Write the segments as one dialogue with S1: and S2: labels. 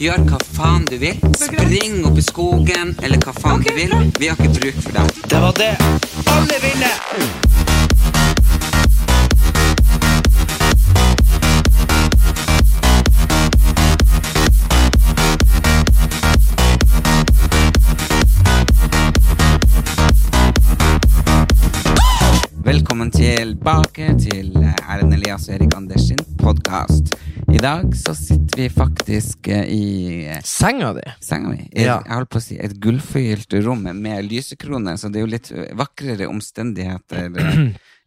S1: Gjør hva faen du vil. Spring opp i skogen, eller hva faen du vil. Vi har ikke bruk for deg. Det var det alle ville! Velkommen tilbake til Erlend Elias og Erik Anders sin podkast. I dag så sitter vi faktisk eh, i eh,
S2: Senga di?
S1: senga mi. Et,
S2: Ja.
S1: Jeg holdt på å si et gullforgylt rom med lysekrone, så det er jo litt eh, vakrere omstendigheter eh,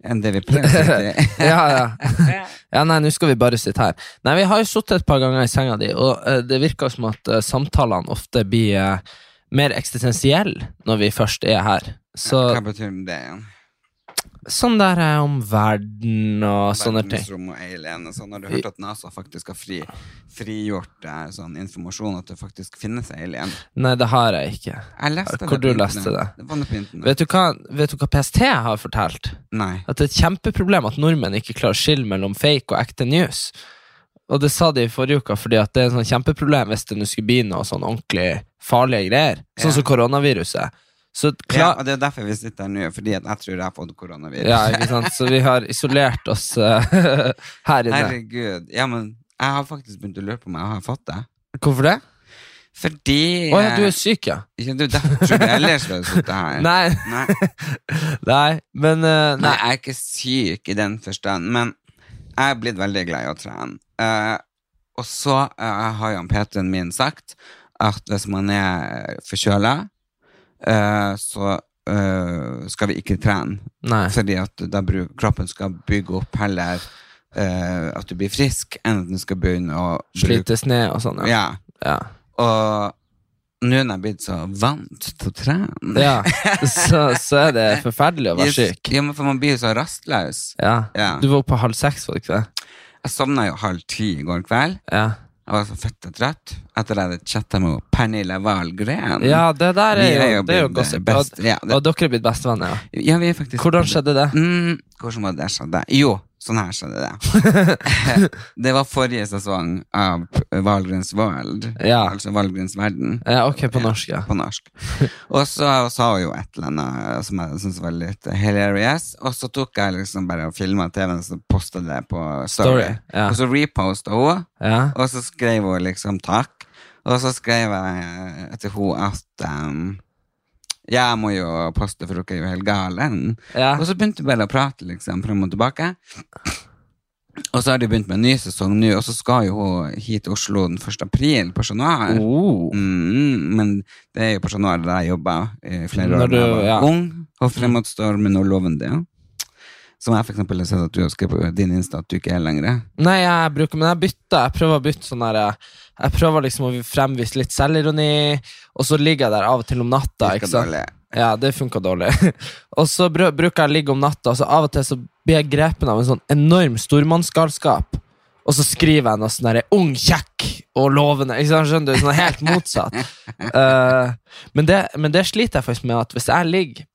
S1: enn det vi pleier å sitte i.
S2: Ja, ja. ja, nei, nå skal vi bare sitte her. Nei, vi har jo sittet et par ganger i senga di, og eh, det virker som at eh, samtalene ofte blir eh, mer eksistensielle når vi først er her. Så,
S1: Hva betyr det igjen?
S2: sånn der eh, om verden og sånne ting.
S1: Verdensrom og alien og sånn. Har du hørt at NASA faktisk har fri, frigjort eh, sånn informasjon at det faktisk finnes alien?
S2: Nei, det har jeg ikke.
S1: Jeg leste det
S2: Hvor du
S1: på
S2: leste
S1: internett.
S2: det?
S1: Det var noe på internett.
S2: Vet du, hva, vet du hva PST har fortalt?
S1: Nei.
S2: At det er et kjempeproblem at nordmenn ikke klarer å skille mellom fake og ekte news. Og det sa de i forrige uke, fordi at det er et sånn kjempeproblem hvis det nå skulle bli noe sånn ordentlig farlige greier. Sånn
S1: Ja.
S2: som koronaviruset. Så
S1: Ja,
S2: klar...
S1: og Det er derfor vi sitter her nå, fordi at jeg tror jeg har fått koronavirus.
S2: Ja, ikke sant? Så vi har isolert oss eh, her inne.
S1: Herregud. Ja, men jeg har faktisk begynt å lure på om jeg har fått det.
S2: Hvorfor det?
S1: Fordi eh,
S2: Å ja, du er syk, ja.
S1: Ja, du, derfor tror jeg ellers hadde sittet her.
S2: Nei,
S1: Nei.
S2: nei, men eh,
S1: Nei,
S2: nei.
S1: jeg er ikke syk i den forstand, men jeg er blitt veldig glad i å trene. Eh, og så eh, har jo han Peteren min sagt at hvis man er forkjøla, eh, så eh, skal vi ikke trene.
S2: nei.
S1: Fordi at da bru- kroppen skal bygge opp heller eh, at du blir frisk, enn at den skal begynne å bruke-
S2: Slites ned og sånn, ja.
S1: Ja.
S2: ja.
S1: Og nå når jeg er blitt så vant til å trene
S2: ja. Så, så er det forferdelig å være
S1: Yes.
S2: syk.
S1: Ja, men for man blir jo så rastløs.
S2: Ja.
S1: Ja.
S2: Du var oppe halv seks, var du ikke det?
S1: Jeg sovna jo halv ti i går kveld.
S2: Ja.
S1: Jeg var så fett og trøtt etter at jeg hadde chatta med Pernille Wahlgren.
S2: Ja, det der
S1: Vi
S2: er jo, det er jo
S1: blitt eh,
S2: gossip.
S1: best-
S2: Og,
S1: Ja, det,
S2: og dere er blitt bestevenner, ja.
S1: ja, vi er faktisk
S2: Hvordan skjedde det?
S1: Mm, hvordan var det skjedde? Jo, sånn her skjedde det. det var forrige sesong av Wahlgrens World,
S2: Ja.
S1: altså Wahlgrens verden.
S2: Ja, ok, på norsk, ja.
S1: På norsk. Og så sa hun jo et eller annet som jeg syntes var litt hilarious, og så tok jeg liksom bare og filma TV-en og så posta det på Story.
S2: Story, ja.
S1: Og så reposta hun,
S2: Ja,
S1: og så skrev hun liksom takk. Og så skrev jeg til hun at ehm, jeg må jo poste, for dere er jo helt gale.
S2: ja.
S1: Og så begynte vi bare å prate liksom, frem og tilbake. Og så har de begynt med en ny sesong nå, og så skal jo hun hit til Oslo den 1. april på Chat Noir.
S2: Oh.
S1: Mm, men det er jo på Chat Noir der jeg jobba i flere
S2: Når
S1: år da jeg
S2: du-
S1: var
S2: ja. Mm.
S1: ung. Og fremadstormen og loven din. Som jeg for eksempel har sett at du har skrevet på din Insta at du ikke er lenger.
S2: Nei, jeg bruker, men jeg bytter. Jeg prøver å bytte sånn der jeg- Jeg prøver liksom å fremvise litt selvironi, og så ligger jeg der av og til om natta.
S1: Virker
S2: ikke sant?
S1: dårlig.
S2: Ja, det funka dårlig. og så bru- bruker jeg å ligge om natta, og så av og til så blir jeg grepen av en sånn enorm stormannsgalskap. Og så skriver jeg noe sånn derre 'ung, kjekk og lovende'. Ikke sant, skjønner du? Sånn helt motsatt. Eh, men, det, men det sliter jeg faktisk med, at hvis jeg ligger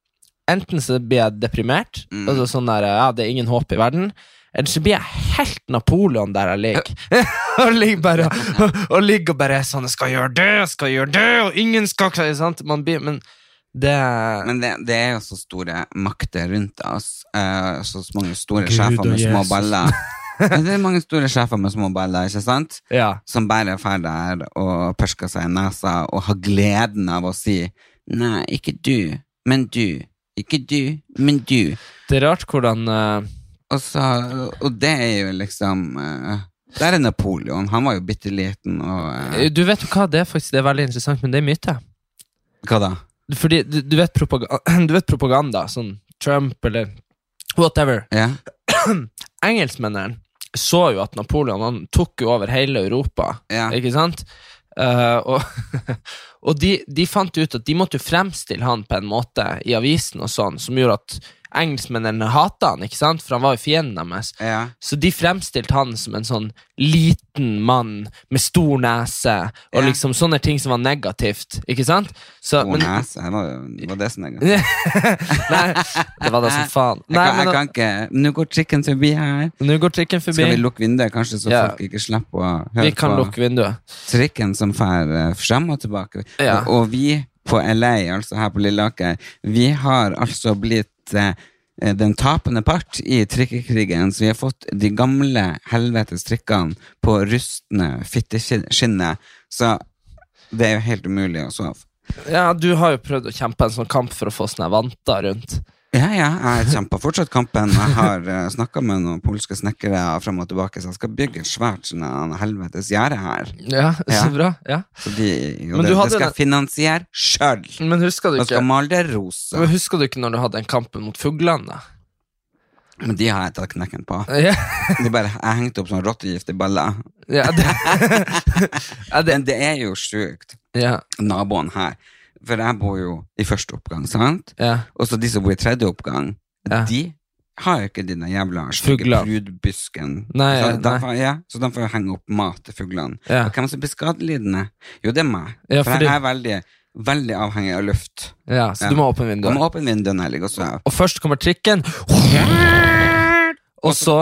S2: Enten så blir jeg deprimert,
S1: Mm.
S2: altså sånn der, ja, det er ingen håp i verden, eller så blir jeg helt Napoleon der jeg ligger. og ligger bare og, og ligger og bare er sånn 'Jeg skal gjøre det, jeg skal gjøre det', og ingen skal klare sant? Man blir, Men det
S1: Men det, det er jo så store makter rundt oss. eh, så mange store sjefer med små baller. Men det er mange store sjefer med små baller, ikke sant?
S2: Ja.
S1: Som bare drar der og pørsker seg i nesa og har gleden av å si Nei, ikke du, men du. Ikke du, men du.
S2: Det er rart hvordan eh,
S1: Og, så, og det er jo liksom eh, Der er Napoleon. Han var jo bitte liten og eh,
S2: Du vet jo hva, det er faktisk det er veldig interessant, men det er myte.
S1: Hva da?
S2: Fordi du, du, vet, propaganda, du vet propaganda, sånn Trump eller whatever.
S1: Ja.
S2: Engelskmennene så jo at Napoleon han tok jo over hele Europa.
S1: Ja.
S2: Ikke sant? Eh, og og de, de fant ut at de måtte jo fremstille han på en måte i avisen, og sånn, som gjorde at engelskmennene hata han, ikke sant? for han var jo fienden deres.
S1: Ja.
S2: Så de fremstilte han som en sånn liten mann med stor nese, og
S1: Ja.
S2: liksom sånne ting som var negativt. ikke sant? Så,
S1: Stor
S2: men-
S1: nese. Det var, jo- det var det som jeg
S2: Nei, det var da som faen.
S1: Jeg
S2: Nei,
S1: kan, jeg
S2: men
S1: kan ikke Nå går trikken forbi her.
S2: nå- Nå går trikken forbi.
S1: Skal vi lukke vinduet, kanskje, så
S2: Ja.
S1: folk ikke slipper å
S2: Vi
S1: høre
S2: kan
S1: på
S2: lukke vinduet.
S1: trikken som fer eh, frem og tilbake?
S2: Ja.
S1: Og, og vi på LA, altså her på Lilleaker, vi har altså blitt eh, eh, den tapende part i trikkekrigen, så vi har fått de gamle helvetes trikkene på rustne fitteskinnet, så det er jo helt umulig å sove.
S2: Ja, Du har jo prøvd å kjempe en sånn kamp for å få sånne vanter rundt.
S1: Ja, ja, jeg kjemper fortsatt kampen. Jeg har uh, snakka med noen polske snekkere frem og tilbake, så jeg skal bygge et svært sånn en helvetes gjerde her.
S2: Ja,
S1: Ja.
S2: så bra. ja.
S1: Så de,
S2: Men
S1: og
S2: du
S1: det,
S2: hadde
S1: det skal
S2: den-
S1: jeg finansiere sjøl.
S2: Men husker du
S1: Jeg skal
S2: ikke
S1: male det rosa.
S2: Men husker du ikke når du hadde den kampen mot fuglene?
S1: Men de har jeg tatt knekken på.
S2: Ja,
S1: De bare, jeg hengte opp sånn rottegift i baller.
S2: ja, det, ja, det,
S1: Men det er jo sjukt,
S2: ja,
S1: naboen her. For jeg bor jo i første oppgang, sant?
S2: ja.
S1: Og så de som bor i tredje oppgang,
S2: Ja.
S1: de har jo ikke de der jævla
S2: Fugler.
S1: prudbysken.
S2: Nei,
S1: så, de
S2: nei.
S1: Får, ja, så de får jo henge opp mat til fuglene.
S2: Ja.
S1: Og hvem som blir skadelidende? Jo, det er meg.
S2: Ja,
S1: for
S2: fordi-
S1: jeg er veldig, veldig avhengig av luft.
S2: ja så du må åpne
S1: Da
S2: vinduet.
S1: må åpne vinduet når jeg ligger og sover.
S2: Og først kommer trikken, og så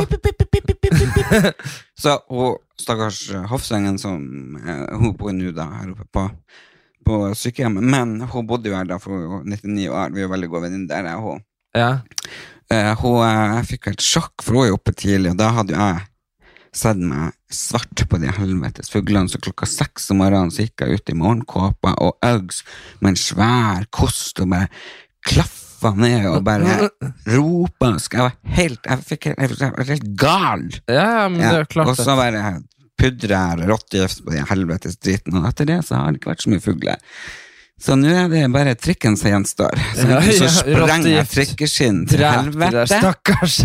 S1: Så hun, stakkars eh, Hofsengen, som eh, hun bor nå da her oppe på, på sykehjemmet, men hun bodde jo her da for hun var 99 år, vi er jo veldig gode venninner, jeg og hun.
S2: Ja,
S1: Eh, hun eh, fikk jo et sjokk, for hun er jo oppe tidlig, og da hadde jo jeg sett meg svart på de helvetes fuglene, så klokka seks om morgenen så gikk jeg ut i morgenkåpa og Uggs med en svær kost og bare klaffa ned og bare ropa. og sk- Jeg var helt, jeg fikk, jeg var helt gal.
S2: ja men Mm, det er jo
S1: Ja,
S2: klart
S1: Og så
S2: det.
S1: bare pudrer jeg rottegift på den helvetes driten, og etter det så har det ikke vært så mye fugler. Så nå er det bare trikken som gjenstår. Så,
S2: Ja,
S1: så
S2: ja,
S1: sprenger jeg
S2: rottegift.
S1: trikkeskinn til
S2: Drep de der,
S1: helvete.
S2: Stakkars.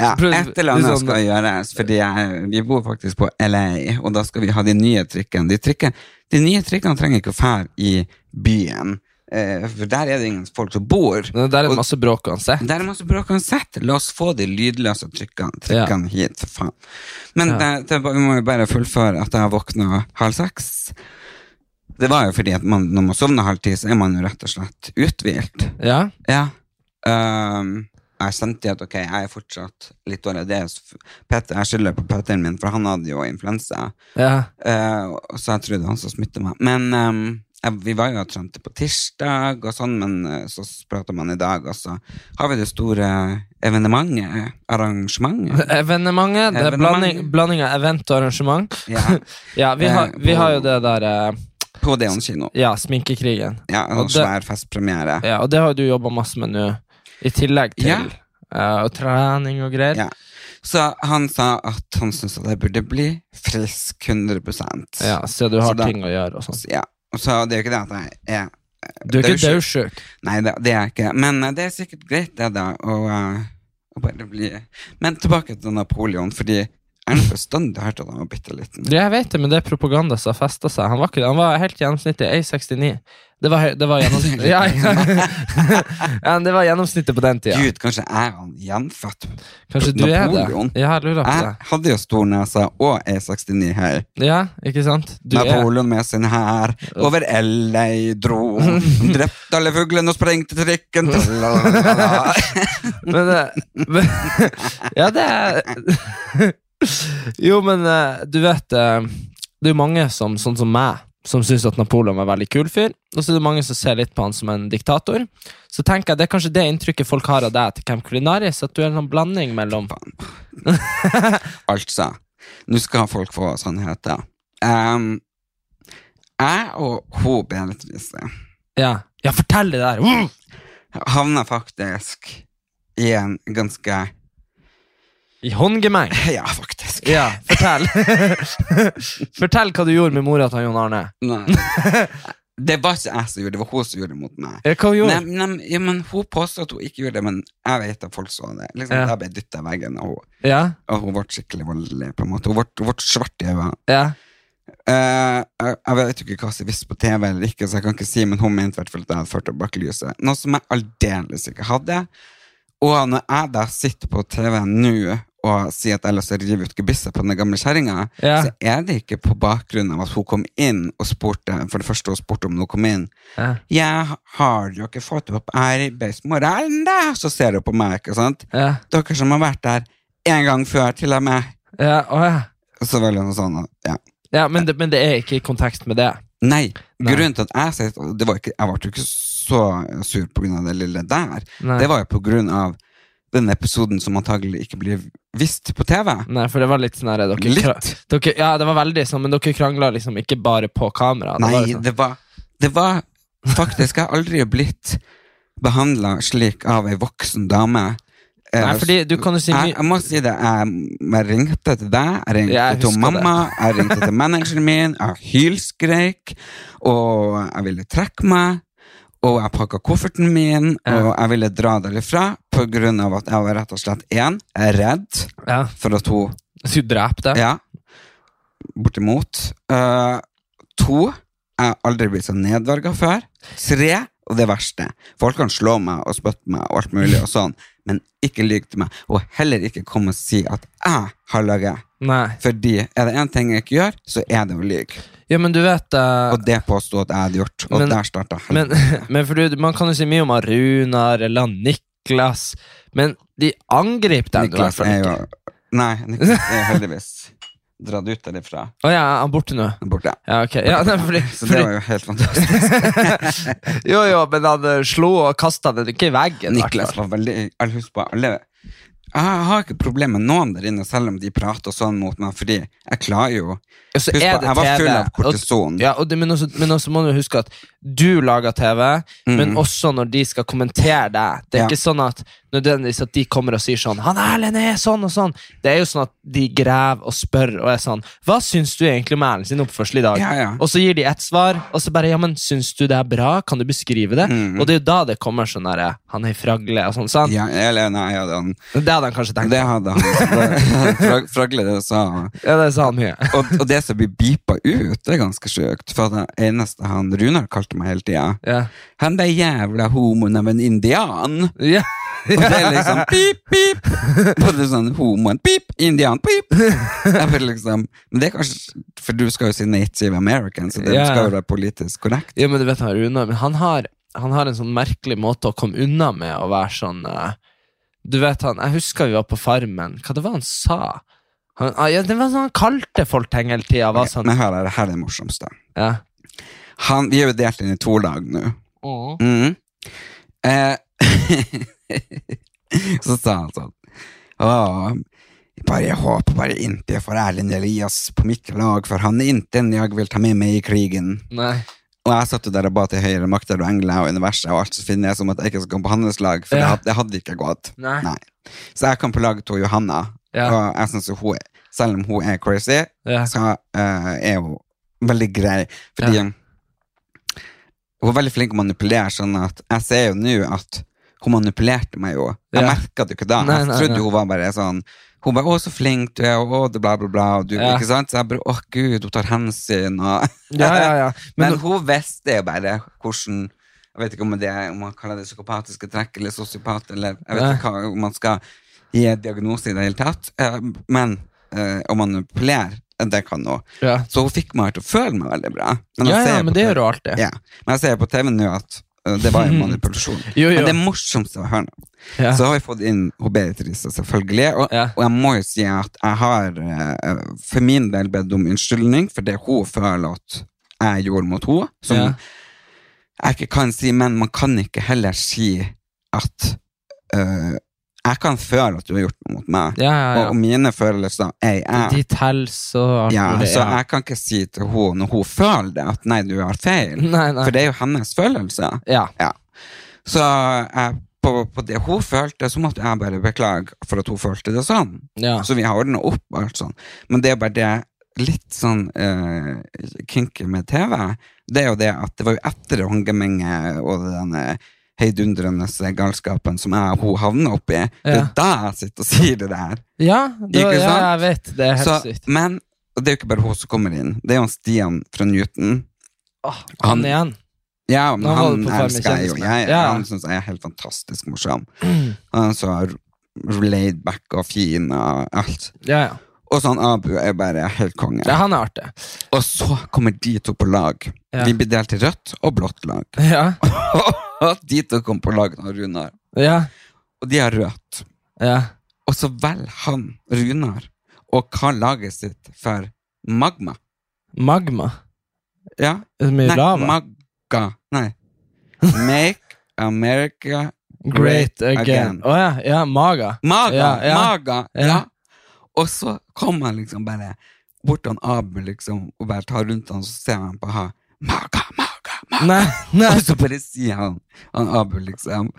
S1: Ja, et eller annet
S2: Sånn-
S1: skal gjøres, fordi jeg, vi bor faktisk på LA, og da skal vi ha de nye trikkene. De, trikken, de nye trikkene trenger ikke å fære i byen, eh, for der er det ingen folk som bor.
S2: Det der er det masse bråk uansett.
S1: Der er masse bråk uansett. La oss få de lydløse trykkene, trykkene hit, for faen. Men det, det, vi må jo bare fullføre at jeg våkna halv seks. Det var jo fordi at man, når man sovner halv ti, så er man jo rett og slett uthvilt.
S2: Ja,
S1: Ja. Ehm, jeg kjente at ok, jeg er fortsatt litt dårlig. Det er, s- Peter, jeg skylder på Peteren min, for han hadde jo influensa.
S2: ja,
S1: Eh, og- så jeg trodde han som smittet meg. Men ehm, jeg, vi var jo og trente på tirsdag, og sånn, men eh, så prater man i dag, og så har vi det store evenementet. Arrangementet.
S2: Evenementet. Det er blanding,
S1: Evenementet.
S2: blanding av event og arrangement.
S1: Ja.
S2: Ja, vi har, vi har jo det der eh,
S1: På Deon kino.
S2: Ja, sminkekrigen.
S1: Ja, en sånn
S2: Og det-
S1: svær festpremiere.
S2: Ja, og det har jo du jobba masse med nå, i tillegg til
S1: Ja.
S2: eh, og trening og greier.
S1: Ja. Så han sa at han syntes at jeg burde bli frisk 100
S2: Ja, så du har
S1: Så da-
S2: ting å gjøre og sånn.
S1: Ja. Så det er jo ikke det at jeg er
S2: Du er ikke
S1: daudsjuk.
S2: daudsjuk.
S1: Nei, det, det er jeg ikke. Men eh, det er sikkert greit, det, da. Og, eh, å bare bli Men tilbake til Napoleon, fordi jeg har bestandig hørt at han var bitte liten.
S2: Jeg vet det, men det er propaganda som har festa seg. Han var, ikke, han var helt gjennomsnittlig. A69. Det var, høy- det var gjennomsnittet ja, ja. ja, men det var gjennomsnittet på den tida.
S1: Gud, kanskje er han gjenfødt?
S2: Kanskje du er det?
S1: Napoleon?
S2: Ja, jeg lurer på
S1: Jeg
S2: det.
S1: hadde jo stor nese og E69 her.
S2: Ja, ikke sant? Du er
S1: Napoleon med sin hær over LA dro. Drepte alle fuglene og sprengte trikken. Tralalala.
S2: Men, eh, men Ja, det er Jo, men eh, du vet eh, Det er jo mange som, sånn som meg, som syns at Napoleon var en veldig kul fyr. Og så er det mange som ser litt på han som en diktator. Så tenker jeg, Det er kanskje det inntrykket folk har av deg til Camp Culinaris, at du er en sånn blanding mellom
S1: Altså, nå skal folk få sannheter. Um, jeg og hun Beatrice
S2: Ja, ja fortell det der! Uh!
S1: havna faktisk i en ganske
S2: I håndgemeng.
S1: Ja, faktisk.
S2: Ja, fortell. fortell hva du gjorde med mora til Jon Arne.
S1: Nei. Det var ikke jeg som gjorde det, det var hun som gjorde det mot meg.
S2: Ja, Hva hun gjorde
S1: Nei, nei, ja, men Hun påstod at hun ikke gjorde det, men jeg vet at folk så det. Liksom,
S2: Ja.
S1: Jeg ble dyttet i veggen, og hun,
S2: Ja,
S1: og hun ble skikkelig voldelig. på en måte. Hun ble, hun ble svart i øynene.
S2: ja,
S1: Eh, jeg, Jeg vet jo ikke hva som visste på TV eller ikke, så jeg kan ikke si, men hun mente i hvert fall at jeg hadde ført henne bak lyset. Noe som jeg aldeles ikke hadde. Og når jeg da sitter på TV nå og sier at ellers jeg river ut gebisset på den gamle kjerringa,
S2: Ja.
S1: så er det ikke på bakgrunn av at hun kom inn og spurte For det første hun spurte om hun kom inn.
S2: Ja.
S1: Jeg har jo ikke fått opp arbeidsmoralen, da! Så ser hun på meg, ikke sant?
S2: Ja.
S1: Dere som har vært der en gang før, til og med.
S2: Ja, å, ja.
S1: Så var det noe sånn, ja.
S2: ja men, det, men det er ikke i kontekst med det.
S1: Nei,
S2: Nei.
S1: grunnen til at jeg sier og det var ikke, Jeg ble jo ikke så sur på grunn av det lille der.
S2: Nei.
S1: Det var jo på grunn av den episoden som antagelig ikke blir vist på TV.
S2: Nei, for det var litt sånn her dere,
S1: Litt.
S2: kra- dere, Ja, det var veldig sånn, men dere krangla liksom ikke bare på kamera. Det var
S1: Nei,
S2: liksom,
S1: det var, det var faktisk Jeg har aldri blitt behandla slik av ei voksen dame. Eh,
S2: Nei, fordi du kan jo si
S1: jeg,
S2: mye
S1: jeg må si det. Jeg, jeg ringte til deg, jeg ringte
S2: Jeg
S1: til
S2: husker det.
S1: mamma, jeg ringte til manageren min, jeg hylskreik, og jeg ville trekke meg, og jeg pakka kofferten min, og jeg ville dra derifra på grunn av at jeg var rett og slett én, redd
S2: ja.
S1: for at hun
S2: Jeg skulle drepe deg.
S1: Ja. Bortimot. Eh, to. Jeg har aldri blitt så nedverga før. Tre. Og det verste. Folk kan slå meg og spytte meg og alt mulig og sånn, men ikke lyg til meg. Og heller ikke komme og si at jeg har løyet.
S2: Nei.
S1: Fordi er det én ting jeg ikke gjør, så er det å lyve.
S2: Ja, men du vet eh,
S1: Og det påsto at jeg hadde gjort. Og
S2: Men-
S1: der starta
S2: Men, men for du, man kan jo si mye om han Runar eller han Niklas, men de angriper deg i hvert
S1: Niklas
S2: fall
S1: er jo
S2: ikke.
S1: Nei, Niklas er heldigvis dratt ut derifra.
S2: Å ja, er han borte nå?
S1: Borte.
S2: Ja, ok. Ja, nei, fordi,
S1: Så det var jo helt fantastisk.
S2: fordi, jo, jo, men han eh, slo og kasta den ikke i veggen. i hvert
S1: Niklas
S2: fall.
S1: var veldig Jeg husker på alle Jeg har ikke problem med noen der inne, selv om de prater sånn mot meg, fordi jeg klarer jo
S2: Og så
S1: Husk på,
S2: er det
S1: jeg var
S2: TV,
S1: full av kortison.
S2: Og, ja, og det, men, også, men også må du huske at du lager TV, men også når de skal kommentere deg. Det
S1: Mm.
S2: er
S1: Ja.
S2: ikke sånn at nødvendigvis at de kommer og sier sånn 'Han Erlend er sånn og sånn'. Det er jo sånn at de graver og spør og er sånn 'Hva syns du egentlig om Erlend sin oppførsel i dag?'
S1: Ja, ja.
S2: Og så gir de ett svar, og så bare 'Ja, men syns du det er bra? Kan du beskrive det?' Og det er jo da det kommer sånn derre 'Han er i fragle' og sånn. sant?
S1: Mm. ja, Eller nei, ja, det,
S2: Det hadde han kanskje tenkt.
S1: det hadde han. Fra- Fragle det sa han.
S2: Ja, det sa han mye.
S1: og, og det som blir beepa ut, det er ganske sjukt. For det eneste han Runar kalte meg hele tida,
S2: Ja.
S1: han der jævla homoen av en indian.
S2: Ja.
S1: Og det er liksom pip, pip. Og det er sånn homoen pip, indian pip. Jeg vet liksom, men det er kanskje, for du skal jo si native american, så det
S2: Ja.
S1: skal jo være politisk korrekt.
S2: Ja, men du vet han Rune, men han har, han har en sånn merkelig måte å komme unna med å være sånn eh, Du vet han, jeg husker vi var på farmen, hva det var han sa? Han, ah, ja, det var sånn han kalte folk ting hele tida, var sånn
S1: Men her er det her er det morsomste.
S2: ja.
S1: Han, vi er jo delt inn i to lag nå. Mhm. Eh, så sa han sånn Åh, Bare jeg håper bare ikke jeg får Erlend Elias på mitt lag, for han er ikke en jeg vil ta med meg i krigen.
S2: Nei.
S1: Og jeg satt jo der og ba til høyere makter og engler og universet og alt så finner jeg som at jeg ikke skal komme på hans lag, for
S2: Ja.
S1: det, hadde, det hadde ikke gått.
S2: Nei.
S1: Så jeg kom på laget til Johanna,
S2: Ja.
S1: og jeg synes jo hun, er- selv om hun er crazy,
S2: Ja.
S1: så eh, er hun veldig grei, fordi
S2: Ja.
S1: hun er veldig flink å manipulere, sånn at jeg ser jo nå at hun manipulerte meg jo. Jeg
S2: Ja.
S1: merket det jo ikke da.
S2: Nei, nei,
S1: jeg trodde
S2: nei.
S1: jo hun var bare sånn hun bare 'Å, så flink du er', og å, det bla, bla, bla. Og du,
S2: Ja.
S1: ikke sant? Så jeg bare 'Å, gud, hun tar hensyn', og
S2: Ja, ja, ja.
S1: men,
S2: Men,
S1: hun visste jo bare hvordan Jeg vet ikke om, det, er- om man kaller det psykopatiske trekk eller sosiopat, eller jeg vet
S2: Nei.
S1: ikke hva om man skal gi en diagnose i det hele tatt. Eh, Men eh, å manipulere, eh, det kan hun.
S2: ja.
S1: Så hun fikk meg til å føle meg veldig bra.
S2: ja,
S1: jeg ser
S2: ja,
S1: på
S2: men det
S1: TV
S2: gjør du alltid.
S1: Ja. Men jeg ser på TV nå at eh, det var en manipulasjon.
S2: Jo, jo.
S1: Men det morsomste å høre nå,
S2: Mhm. Ja.
S1: så har vi fått inn hun Beatrice, selvfølgelig. Og,
S2: Ja.
S1: og jeg må jo si at jeg har eh, for min del bedt om unnskyldning for det hun føler at jeg gjorde mot henne. Som
S2: Ja.
S1: jeg ikke kan si, men man kan ikke heller si at eh, Jeg kan føle at du har gjort noe mot meg.
S2: Ja, ja,
S1: Og, og mine følelser er jeg.
S2: De teller så alt
S1: Ja,
S2: mulig,
S1: så jeg kan ikke si til henne når hun føler det, at nei, du har feil.
S2: Nei, nei.
S1: For det er jo hennes følelse.
S2: Ja.
S1: Ja. Så jeg, på, på det hun følte, så måtte jeg bare beklage for at hun følte det sånn.
S2: Ja.
S1: Så vi har ordna opp og alt sånn. Men det er bare det litt sånn eh, kinky med TV, det er jo det at det var jo etter håndgemenget og denne heidundrende galskapen som jeg og hun havna oppi, det
S2: Ja.
S1: er da jeg sitter og sier det der.
S2: ja, det,
S1: Ikke
S2: ja,
S1: sant?
S2: jeg vet. Det er helt
S1: Så,
S2: sykt.
S1: men Og det er jo ikke bare hun som kommer inn. Det er jo han Stian fra Newton.
S2: Åh, han
S1: Han-
S2: igjen.
S1: Ja, men
S2: Da var
S1: han
S2: du på feil med
S1: elsker jeg jo.
S2: kjendisene.
S1: Jeg,
S2: Ja.
S1: Han syns jeg er helt fantastisk morsom. Han er så r- laid back og fin og alt.
S2: Ja, ja.
S1: Og sånn Abu er bare helt konge.
S2: ja. Han er artig.
S1: Og så kommer de to på lag.
S2: Ja.
S1: De blir delt i rødt og blått lag.
S2: Ja.
S1: Og de to kommer på lag med Runar,
S2: Ja.
S1: og de har rødt.
S2: ja.
S1: Og så velger han Runar å kalle laget sitt for Magma.
S2: Magma.
S1: Ja,
S2: Det er mye
S1: Nei,
S2: lava.
S1: Magga. Nei. Make America
S2: Great again. Å ja. Ja, maga.
S1: Maga!
S2: Ja, ja.
S1: Maga!
S2: Ja.
S1: Ja. Og så kom han liksom bare bort til han Abu liksom, og bare tar rundt han, så ser han på han. Maga, maga, maga!
S2: Nei, nei.
S1: Og så bare sier han, han Abu liksom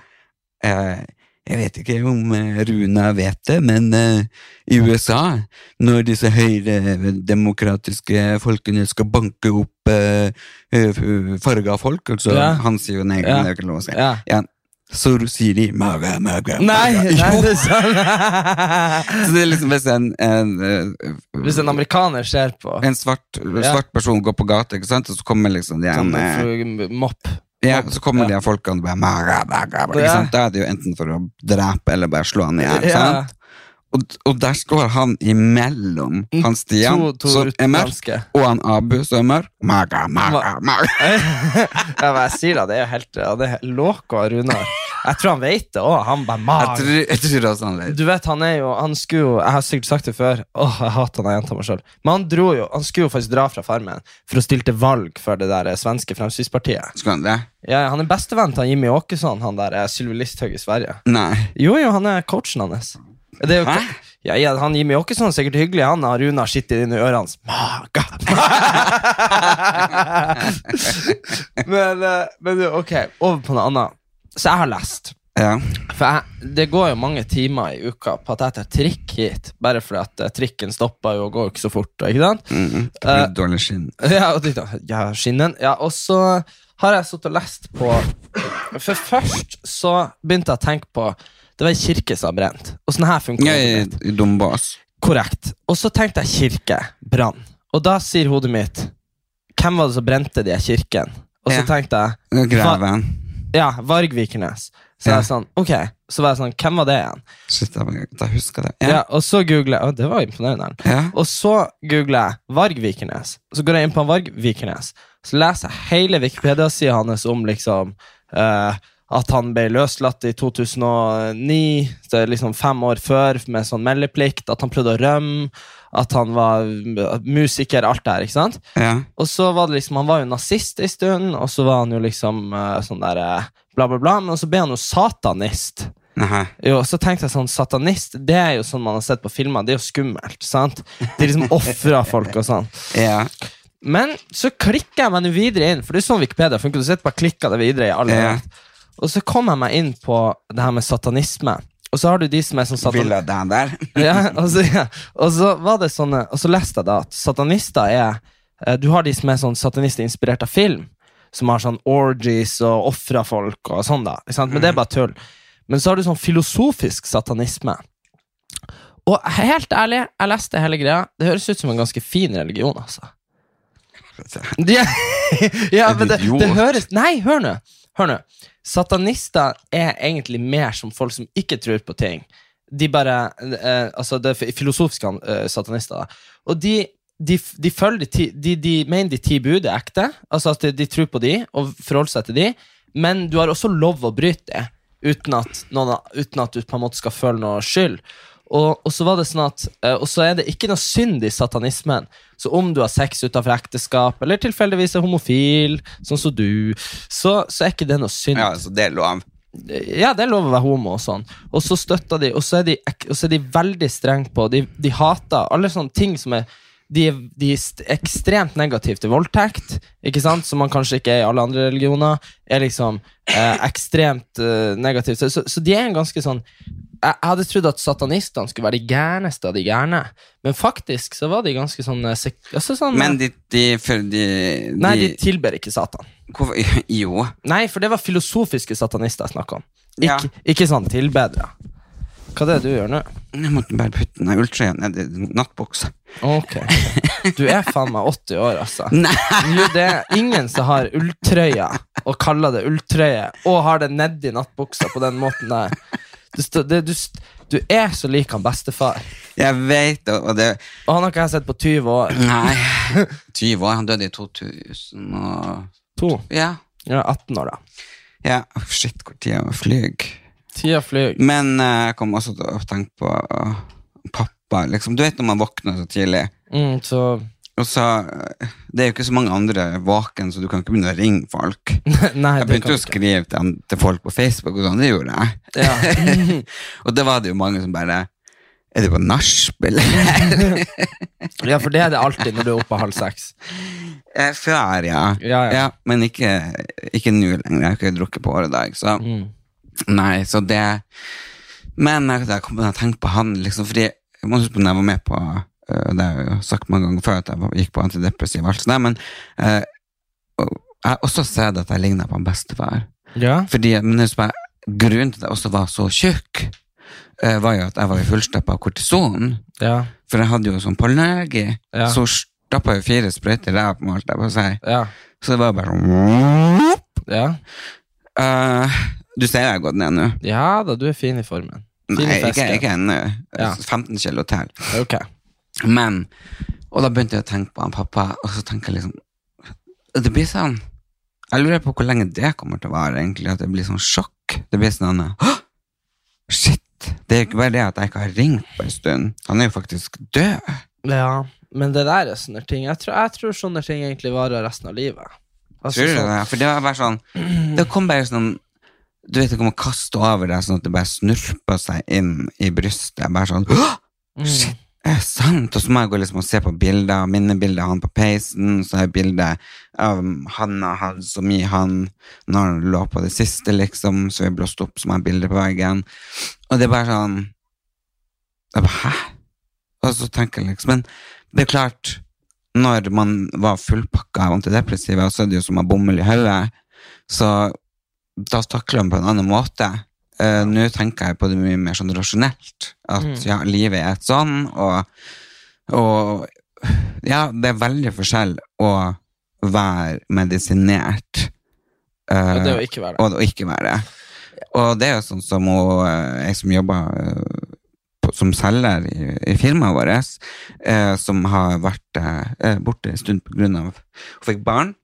S1: eh, Jeg vet ikke om eh, Runa vet det, men eh, i USA, når disse høyredemokratiske folkene skal banke opp eh, eh, farga folk altså,
S2: Ja.
S1: Han sier jo nei, det
S2: Ja.
S1: er jo ikke lov å si.
S2: Ja.
S1: Ja. Så sier de maga, maga, maga.
S2: Nei, nei,
S1: Jo.
S2: det er sånn.
S1: Så det er liksom hvis en, en,
S2: Hvis en
S1: en,
S2: amerikaner ser på
S1: en svart, svart person går på gata, ikke sant? og så kommer liksom de
S2: sånn,
S1: en, eh,
S2: fru- mopp
S1: ja, så kommer de her folkene og bare maga, maga, maga, ikke
S2: Ja.
S1: sant? Da er det jo enten for å drepe eller bare slå han i hjel. ikke
S2: Ja.
S1: sant? Og, og der står han imellom han Stian,
S2: To- to
S1: som er mørk,
S2: utenlandske.
S1: og han Abu, som er mørk. Maga, maga, maga.
S2: Ja, men jeg sier da, det er jo helt ja, Det er helt loco av Runar. Jeg tror han vet det òg. Han bare
S1: Jeg
S2: mag.
S1: tror, jeg tror sånn også han vet.
S2: Du vet, han er jo Han skulle jo Jeg har sikkert sagt det før. Åh, jeg hater han jeg gjentar meg selv. Men han dro jo Han skulle jo faktisk dra fra Farmen for å stille til valg for det der eh, svenske Fremskrittspartiet.
S1: Skal han det?
S2: Ja, han er bestevenn til han Jimmy Åkesson, han der eh, Sylvi Listhaug i Sverige.
S1: Nei.
S2: Jo, jo, han er coachen hans. Det er jo,
S1: Hæ?
S2: ja, ja, han Jimmy Åkesson er sikkert hyggelig. Han har Runar sitter inni ørene hans. Maga! men, eh, men du, ok, over på noe annet. Så jeg har lest.
S1: Ja.
S2: For jeg, det går jo mange timer i uka på at jeg tar trikk hit. Bare fordi at eh, trikken stopper jo og går jo ikke så fort. og Ikke sant?
S1: Mm, det
S2: Eh,
S1: blir dårlig skinn.
S2: Ja, og de da, ja, skinnen. Ja, og så har jeg sittet og lest på For først så begynte jeg å tenke på Det var en kirke som har brent. Og sånn her funker
S1: Ja, i,
S2: hodet mitt.
S1: i Dombås.
S2: Korrekt. Og så tenkte jeg kirke, brann. Og da sier hodet mitt Hvem var det som brente de her kirkene? Og så
S1: Ja.
S2: tenkte jeg
S1: Greven.
S2: Ja, Vargvikernes. Så
S1: Ja.
S2: jeg sånn, ok Så var jeg sånn, hvem var det igjen?
S1: Shit, jeg, jeg husker det.
S2: Ja,
S1: Ja.
S2: Og så googler jeg Å, det var imponerende.
S1: Ja.
S2: Og så googler jeg Vargvikernes. Så går jeg inn på Vargvikernes. Så leser jeg hele Wikipedia-sida hans om liksom eh, at han ble løslatt i 2009, så det er liksom fem år før, med sånn meldeplikt. At han prøvde å rømme. At han var mm, musiker. Alt det her. ikke sant?
S1: ja.
S2: Og så var det liksom, Han var jo nazist en stund, og så var han jo liksom eh, sånn der eh, bla, bla, bla. Men så ble han jo satanist.
S1: Nei.
S2: Jo, og så tenkte jeg sånn, Satanist det er jo sånn man har sett på filmer. Det er jo skummelt. sant? De liksom ofrer folk og sånn.
S1: Ja.
S2: Men så klikker jeg meg nå videre inn, for det er sånn Wikipedia funker. Du sitter bare og klikker det videre i alle
S1: Ja.
S2: Og så kom jeg meg inn på det her med satanisme. Og så har du de som er sånn satan-
S1: Vil jeg deg der?
S2: ja, og, så, ja. og så var det sånne Og så leste jeg da at satanister er eh, Du har de som er sånn satanister inspirert av film Som har sånn orgies og offrer folk og sånn da ikke sant? Men det er
S1: Mm.
S2: bare tull Men så har du sånn filosofisk satanisme Og helt ærlig Jeg leste hele greia Det høres ut som en ganske fin religion altså ja, ja,
S1: En
S2: men det, det
S1: idiot.
S2: høres Nei, hør nå. Hør nå. Satanister er egentlig mer som folk som ikke tror på ting. De bare eh, Altså, det er filosofiske eh, satanister. Da. Og de, de, de følger de ti de, de mener de ti bud er ekte. Altså at de, de tror på de og forholder seg til de. Men du har også lov å bryte det uten at, noen, uten at du på en måte skal føle noe skyld. Og, og så var det sånn at eh, Og så er det ikke noe synd i satanismen. Så om du har sex utenfor ekteskap, eller tilfeldigvis er homofil, sånn som du, så, så er ikke det noe synd.
S1: Ja,
S2: Ja.
S1: så det er lov.
S2: det er lov å være homo og sånn. Og så støtter de, og så er de, ek- og så er de veldig strenge på De, de hater alle sånne ting som er de, er- de er st- ekstremt negative til voldtekt, ikke sant? som man kanskje ikke er i alle andre religioner. Er liksom eh, ekstremt eh, negative. til- Så, så de er en ganske sånn jeg jeg hadde trodd at satanistene skulle være de gærneste av de gærne, men faktisk så var de ganske sånn, eh, sek altså sånn
S1: Men de, de, for de, de
S2: Nei, de tilber ikke Satan.
S1: hvorfor, Jo.
S2: Nei, for det var filosofiske satanister jeg snakka om. Ikke,
S1: Ja.
S2: ikke sånn tilbedere. Hva er det du gjør nå?
S1: Jeg måtte bare putte den der ulltrøya ned i nattbuksa.
S2: Ok. Du er faen meg 80 år, altså.
S1: Nei.
S2: Jo, det er ingen som har ulltrøya og kaller det ulltrøye, og har det nedi nattbuksa på den måten der. Du, stå- det, du, st- du er så lik han bestefar.
S1: Jeg vet det, og det
S2: Og han har ikke jeg sett på 20 år.
S1: Nei. 20 år. Han døde i 2000 og
S2: To.
S1: Ja.
S2: Ja, 18 år, da.
S1: ja. Åh, Shit, hvor tida flyr.
S2: Tida flyr.
S1: Men eh, jeg kom også til å tenke på eh, pappa. Liksom. Du vet når man våkner så tidlig,
S2: Mm, så
S1: og så eh, Det er jo ikke så mange andre våken, så du kan ikke begynne å ringe folk.
S2: Nei,
S1: Jeg
S2: det
S1: begynte
S2: kan
S1: å
S2: ikke.
S1: skrive til, an- til folk på Facebook, og sånn, det gjorde jeg.
S2: Ja.
S1: og da var det jo mange som bare Er du på nachspiel? eller?»
S2: ja, for det er det alltid når du er oppe halv seks.
S1: Eh, Før, ja.
S2: Ja, ja.
S1: men ikke, ikke nå lenger. Jeg har ikke drukket på året i dag. Så
S2: Mm.
S1: nei, så det Men jeg, jeg kom til å tenke på han, liksom, fordi jeg må huske på når jeg var med på eh, Det har jeg jo sagt mange ganger før at jeg var- gikk på antidepressiv, og alt sånt, der, men eh, og, jeg har også sett at jeg ligner på en bestefar.
S2: Ja.
S1: Fordi, men jeg husker bare, grunnen til at jeg også var så tjukk, eh, var jo at jeg var jo fullstappet av kortison.
S2: Ja.
S1: For jeg hadde jo sånn pollenallergi.
S2: Ja.
S1: Så stappa jeg jo fire sprøyter i ræva, holdt jeg på å si.
S2: Ja.
S1: Så det var bare sånn
S2: Ja.
S1: Eh, Du ser jeg har gått ned nå.
S2: ja da, du er fin i formen. Fin
S1: Nei,
S2: i
S1: ikke,
S2: fesken.
S1: ikke ennå.
S2: Ja.
S1: 15 kilo til.
S2: Ok.
S1: Men Og da begynte jeg å tenke på han pappa, og så tenker jeg liksom Det blir sånn Jeg lurer på hvor lenge det kommer til å vare, egentlig. At det blir sånn sjokk. Det blir sånn Hå! Shit! Det er jo ikke bare det at jeg ikke har ringt på en stund. Han er jo faktisk død.
S2: Ja, men det der er sånne ting. Jeg tror, jeg tror sånne ting egentlig varer resten av livet. Altså,
S1: Tror du
S2: sånn-
S1: det? For det var bare sånn Det kom bare sånn Du vet det kommer kaste over deg, sånn at det bare snurper seg inn i brystet. Bare sånn Hå!
S2: Mm.
S1: Shit, er det sant? Og så må jeg gå liksom og se på bilder, minnebilder av han på peisen, så har jeg bilder av han jeg hadde så mye han når han lå på det siste, liksom, så vi blåste opp, så må jeg ha bilder på veggen. Og det er bare sånn jeg bare, Hæ? Og så tenker jeg liksom Men det er klart, når man var fullpakka av antidepressiva, så er det jo som å ha bomull i hodet, så da takler man på en annen måte. Eh, Nå tenker jeg på det mye mer sånn rasjonelt. At
S2: Mm.
S1: ja, livet er et sånn, og, og Ja, det er veldig forskjell å være medisinert eh,
S2: Ja, det å ikke være det.
S1: og å ikke være det. Og det er jo sånn som hun, eh, jeg som jobber eh, på- som selger i, i firmaet vårt, eh, som har vært eh, borte en stund på grunn av Hun fikk barn.